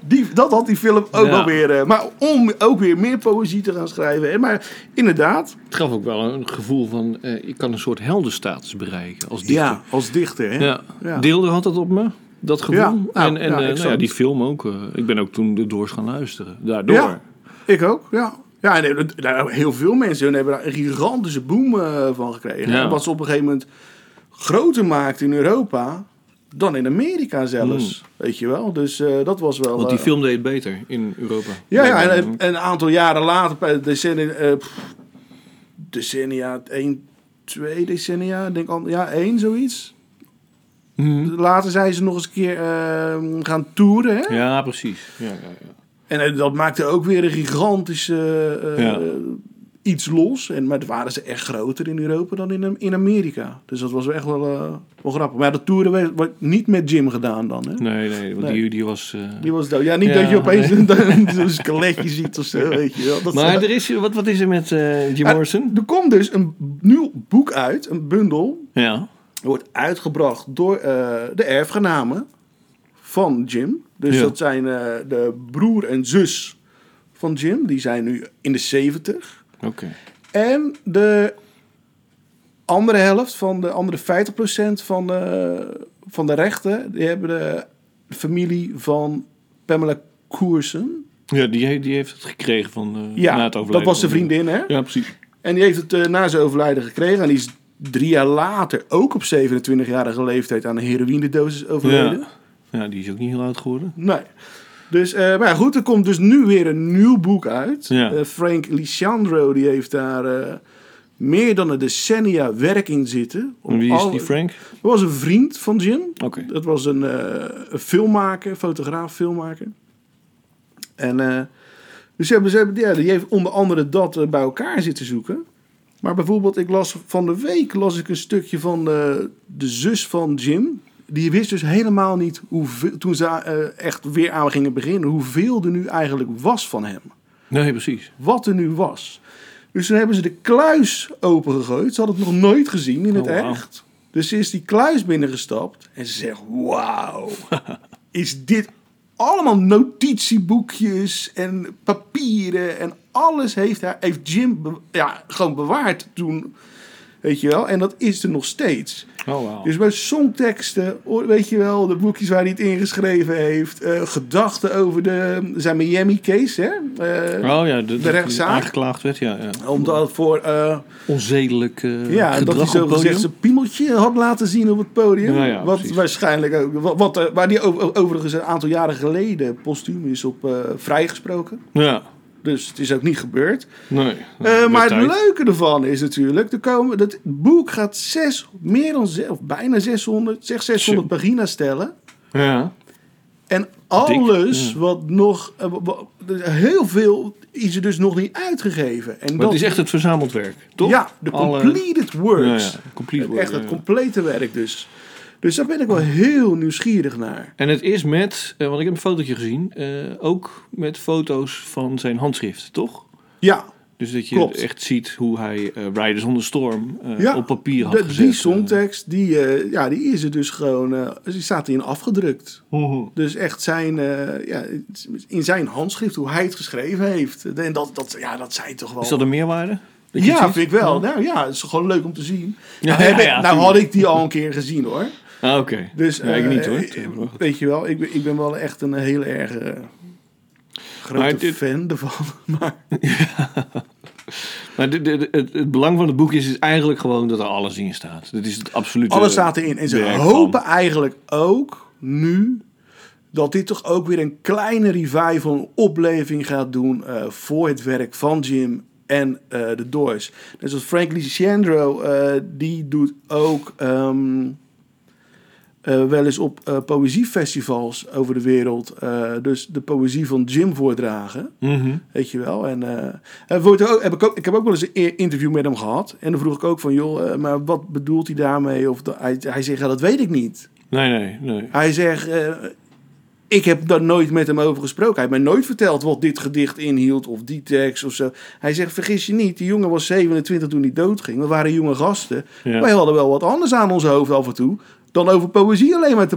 S7: Die, dat had die film ook
S6: Ja.
S7: wel weer. eh, maar om ook weer meer poëzie te gaan schrijven. hè. Maar inderdaad,
S6: Het gaf ook wel een gevoel van, eh je kan een soort heldenstatus bereiken als dichter.
S7: ja, als dichter. Hè?
S6: Ja.
S7: Ja.
S6: Deelde had dat op me, dat gevoel.
S7: Ja, nou,
S6: en en
S7: ja,
S6: eh, nou ja,
S7: exact.
S6: die film ook. eh, ik ben ook toen de Doors gaan luisteren. Daardoor.
S7: Ja, ik ook, ja. Ja, en, eh, nou, heel veel mensen hebben daar een gigantische boom eh, van gekregen.
S6: Ja.
S7: Wat ze op een gegeven moment groter maakt in Europa dan in Amerika zelfs. Weet je wel, dus eh, dat was wel...
S6: Want Hmm. die
S7: eh,
S6: film deed het beter in Europa.
S7: Ja, ja en een, een aantal jaren later, bij decennia, eh, pff, decennia, één, twee decennia, denk al, ja, één zoiets.
S6: Mhm.
S7: Later zijn ze nog eens een keer eh, gaan toeren. Hè?
S6: Ja, precies. Ja, ja, ja.
S7: En eh, dat maakte ook weer een gigantische eh,
S6: Ja.
S7: iets los. En, maar waren ze echt groter in Europa dan in, in Amerika. Dus dat was wel echt wel, eh, wel grappig. Maar ja, dat toeren werd, werd niet met Jim gedaan dan. Hè?
S6: Nee, nee, want
S7: Nee.
S6: Die, die was... eh,
S7: Die was dood. Ja, niet
S6: Ja,
S7: dat je opeens
S6: nee.
S7: een, zo'n skeletje ziet of zo. Weet je wel. Dat
S6: Maar er is, wat, wat is er met eh, Jim
S7: Ja,
S6: Morrison?
S7: Er komt dus een nieuw boek uit, een bundel.
S6: Ja.
S7: Wordt uitgebracht door eh, de erfgenamen van Jim. Dus
S6: Ja.
S7: dat zijn eh, de broer en zus van Jim. Die zijn nu in de 70.
S6: Oké.
S7: En de andere helft van de andere 50% van de, van de rechten, die hebben de familie van Pamela Koersen.
S6: Ja, die, he- die heeft het gekregen van eh,
S7: Ja,
S6: na het
S7: dat
S6: overlijden.
S7: was de
S6: van-
S7: vriendin, hè?
S6: Ja, precies.
S7: En die heeft het eh, na zijn overlijden gekregen. En die is drie jaar later, ook op 27-jarige leeftijd, aan een heroïnedosis overleden.
S6: Ja. ja, die is ook niet heel oud geworden.
S7: Nee. Dus, eh, maar ja, goed, er komt dus nu weer een nieuw boek uit.
S6: Ja.
S7: Eh, Frank Lisandro, die heeft daar eh, meer dan een decennia werk in zitten. Om
S6: En wie is
S7: al-
S6: die Frank?
S7: Dat was een vriend van Jim.
S6: Oké.
S7: Dat was een, eh, een filmmaker, fotograaf, filmmaker. En eh, dus ze hebben, ze hebben, ja, die heeft onder andere dat eh, bij elkaar zitten zoeken. Maar bijvoorbeeld, ik las van de week las ik een stukje van de, de zus van Jim. Die wist dus helemaal niet hoeveel, toen ze eh, echt weer aan gingen beginnen, hoeveel er nu eigenlijk was van hem
S6: Nee, precies.
S7: wat er nu was. Dus toen hebben ze de kluis opengegooid. Ze had het nog nooit gezien in het
S6: Oh, wauw.
S7: echt. Dus ze is die kluis binnengestapt en ze zegt: Wauw, is dit allemaal notitieboekjes en papieren en alles heeft, hij, heeft Jim be- ja, gewoon bewaard toen. Weet je wel, en dat is er nog steeds.
S6: Oh, wauw.
S7: Dus bij songteksten, hoor- weet je wel, de boekjes waar hij het ingeschreven heeft, eh, gedachten over de, zijn Miami-case, hè? Eh,
S6: Oh ja, de, dat hij
S7: rechtszaak?
S6: aangeklaagd werd, ja. ja.
S7: omdat voor, eh,
S6: Onzedelijk eh
S7: ja, en
S6: gedrag
S7: dat hij zo
S6: op het
S7: gezegd
S6: podium.
S7: zijn piemeltje had laten zien op het podium.
S6: Ja, ja,
S7: wat
S6: precies.
S7: waarschijnlijk ook, wat, wat, eh, waar die over- overigens een aantal jaren geleden postuum is op eh, vrijgesproken.
S6: Ja,
S7: Dus het is ook niet gebeurd.
S6: nee.
S7: Eh,
S6: Met
S7: maar
S6: tijd.
S7: het leuke ervan is natuurlijk, er komen, dat boek gaat zes, meer dan zes, of bijna 600, zeg 600 pagina's stellen.
S6: Ja,
S7: En alles wat nog, eh, wa- wa- heel veel is er dus nog niet uitgegeven. En
S6: maar het is echt het verzameld werk, toch?
S7: Ja, de
S6: Alle-
S7: completed
S6: Ja,
S7: works.
S6: ja, complete work,
S7: Echt het
S6: ja.
S7: complete werk dus. Dus daar ben ik wel heel nieuwsgierig naar.
S6: En het is met, eh, want ik heb een fotootje gezien, eh, ook met foto's van zijn handschrift, toch?
S7: Ja,
S6: Dus dat je
S7: Klopt.
S6: echt ziet hoe hij eh, Riders on the Storm eh,
S7: ja.
S6: op papier had
S7: De-
S6: gezet. eh.
S7: Die songtekst, die, eh, ja, die is er dus gewoon... eh, die staat erin afgedrukt.
S6: Mhm.
S7: Dus echt zijn, eh, ja, in zijn handschrift, hoe hij het geschreven heeft. En dat, dat, ja, dat zijn toch wel...
S6: Is dat een meerwaarde? Dat je het
S7: ja,
S6: ziet?
S7: vind ik wel. Nou ja, het is gewoon leuk om te zien.
S6: Ja,
S7: nou heb
S6: ja,
S7: ik-
S6: ja,
S7: nou
S6: tuurlijk.
S7: had ik die al een keer gezien hoor.
S6: Ah, Oké,
S7: Dus,
S6: dus, ja, ik
S7: eh,
S6: niet hoor.
S7: eh, Weet je wel, ik ben, ik ben wel echt een heel erg eh,
S6: Maar
S7: grote
S6: dit-
S7: fan ervan. Maar,
S6: Maar de- de- de- het, het belang van het boek is, is eigenlijk gewoon dat er alles in staat. Dat is het absolute
S7: alles staat erin. En ze
S6: werk
S7: hopen
S6: van-
S7: eigenlijk ook nu dat dit toch ook weer een kleine revival, een opleving gaat doen eh, voor het werk van Jim en eh, de Doors. Net zoals Frank Lisandro, eh, die doet ook ehm, eh, wel eens op eh, poëziefestivals over de wereld. eh, dus de poëzie van Jim voordragen.
S6: Mhm.
S7: Weet je wel. En, eh, en wordt er ook, heb ik, ook, ik heb ook wel eens een e- interview met hem gehad. En dan vroeg ik ook van, joh, eh, maar wat bedoelt hij daarmee? Of dat- hij, hij zegt, ja, dat weet ik niet.
S6: Nee, nee, nee.
S7: Hij zegt, eh, ik heb daar nooit met hem over gesproken. Hij heeft mij nooit verteld wat dit gedicht inhield of die tekst of zo. Hij zegt, vergis je niet, die jongen was 27 toen hij doodging. We waren jonge gasten.
S6: Ja.
S7: Wij hadden wel wat anders aan ons hoofd af en toe. Dan over poëzie alleen maar te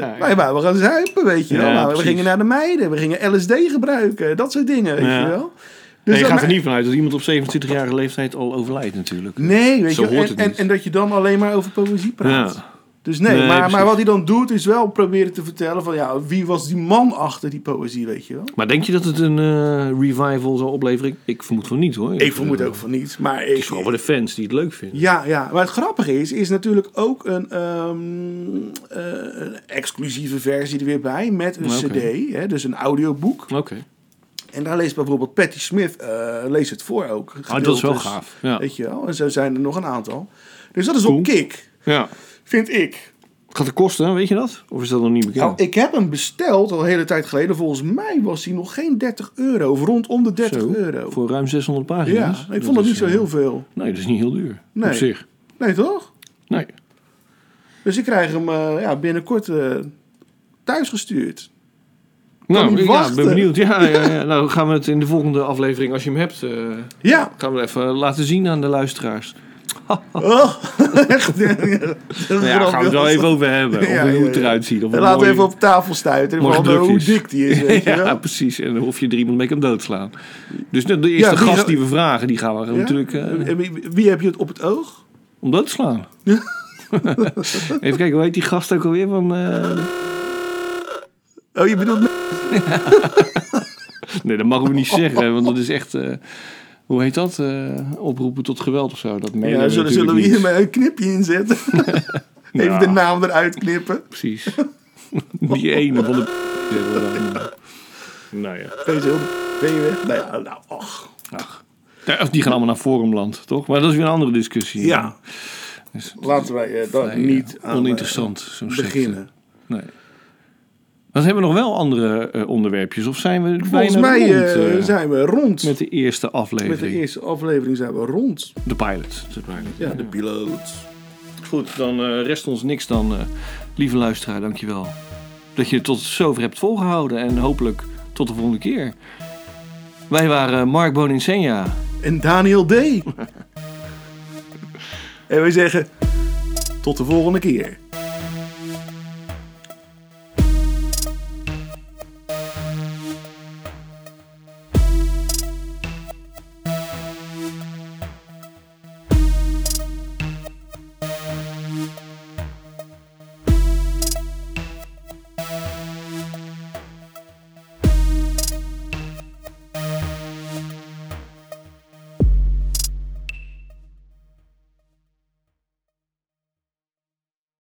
S6: Ja, ja.
S7: Wij wouden gaan zuipen, weet je wel.
S6: Ja,
S7: Nou, we
S6: precies.
S7: gingen naar de meiden, we gingen LSD gebruiken. Dat soort dingen, weet
S6: Ja.
S7: je wel. Dus
S6: Nee, je
S7: dat-
S6: gaat er niet vanuit dat iemand op 27-jarige leeftijd al overlijdt natuurlijk.
S7: Nee, weet
S6: Zo
S7: je, wel.
S6: hoort
S7: en,
S6: het
S7: en,
S6: niet.
S7: en dat je dan alleen maar over poëzie praat.
S6: Ja.
S7: Dus nee,
S6: Nee,
S7: maar,
S6: precies.
S7: maar wat hij dan doet is wel proberen te vertellen van ja, wie was die man achter die poëzie, weet je wel?
S6: Maar denk je dat het een eh, revival zal opleveren? Ik, ik vermoed van niet hoor. Eh,
S7: Ik vermoed ook van niet, maar
S6: Het is vooral voor de fans die het leuk vinden.
S7: Ja, ja, maar het grappige is, is natuurlijk ook een, ehm, eh, een exclusieve versie er weer bij met een
S6: Oké.
S7: cd, hè, dus een audioboek.
S6: Oké.
S7: En daar leest bijvoorbeeld Patti Smith, eh, leest het voor ook.
S6: Ah, dat is wel
S7: gedeeltes,
S6: gaaf. Ja.
S7: Weet je wel, en zo zijn er nog een aantal. Dus dat is
S6: Cool.
S7: op kick,
S6: ja.
S7: vind ik.
S6: Gaat het kosten, weet je dat? Of is dat nog niet bekend?
S7: Nou, ik heb hem besteld al een hele tijd geleden. Volgens mij was hij nog geen 30 euro. Of rondom de 30
S6: Zo,
S7: euro.
S6: Voor ruim 600
S7: ja,
S6: pagina's.
S7: ik vond het niet
S6: is,
S7: zo
S6: eh,
S7: heel veel.
S6: Nee, dat is niet heel duur.
S7: Nee.
S6: Op zich.
S7: Nee, toch?
S6: Nee.
S7: Dus ik krijg hem eh, ja, binnenkort thuis thuisgestuurd.
S6: Nou,
S7: niet
S6: ik ja,
S7: wachten.
S6: ben benieuwd. Ja, ja, ja. Nou gaan we het in de volgende aflevering, als je hem hebt, eh,
S7: Ja,
S6: gaan we even laten zien aan de luisteraars.
S7: Oh, echt. Ja, dat is
S6: Nou ja,
S7: grappig.
S6: gaan we het wel even over hebben.
S7: Ja,
S6: of
S7: ja,
S6: hoe
S7: ja.
S6: het eruit ziet. Of
S7: En
S6: het
S7: laten we
S6: mooi-
S7: even op tafel stuiten. in ieder
S6: mooi
S7: geval
S6: gedrukt
S7: Hoe
S6: is.
S7: dik die is, weet je
S6: ja,
S7: wel.
S6: precies. En of je er iemand mee kan doodslaan. Dus de de eerste
S7: die
S6: gast
S7: zou-
S6: die we vragen, die gaan we
S7: Ja?
S6: natuurlijk eh,
S7: En wie, wie heb je het op het oog?
S6: om dood te slaan. Even kijken, hoe heet die gast ook alweer? Van, eh,
S7: Oh, je bedoelt...
S6: Nee, dat mogen we niet zeggen, want dat is echt... eh, hoe heet dat? Eh, oproepen tot geweld of zo. Dat menen
S7: Ja, zullen, zullen
S6: natuurlijk
S7: we hier
S6: niet. Nou.
S7: maar een knipje in zetten? Even
S6: Ja.
S7: de naam eruit knippen.
S6: Precies. Die ene van de... zeggen we dan. Nou ja.
S7: Wees heel... Ben je weg? Nou ja, nou, och.
S6: Ach. Ja, Die gaan allemaal naar Forumland, toch? Maar dat is weer een andere discussie.
S7: Ja.
S6: Dus-
S7: Laten wij eh, daar
S6: Nee,
S7: niet
S6: eh,
S7: aan eh,
S6: oninteressant, eh. zo'n
S7: beginnen.
S6: secte. Nee. Dan hebben we nog wel andere eh, onderwerpjes, of zijn we
S7: Volgens
S6: bijna
S7: mij
S6: rond,
S7: eh,
S6: eh,
S7: zijn we rond.
S6: met de eerste
S7: Met
S6: aflevering,
S7: de eerste aflevering zijn we rond.
S6: de pilot. De pilot.
S7: Ja, de piloot.
S6: Goed, dan eh, rest ons niks dan, eh, lieve luisteraar, dankjewel dat je het tot zover hebt volgehouden en hopelijk tot de volgende keer. Wij waren eh, Mark Boninsenja.
S7: En Daniel D. en wij zeggen tot de volgende keer.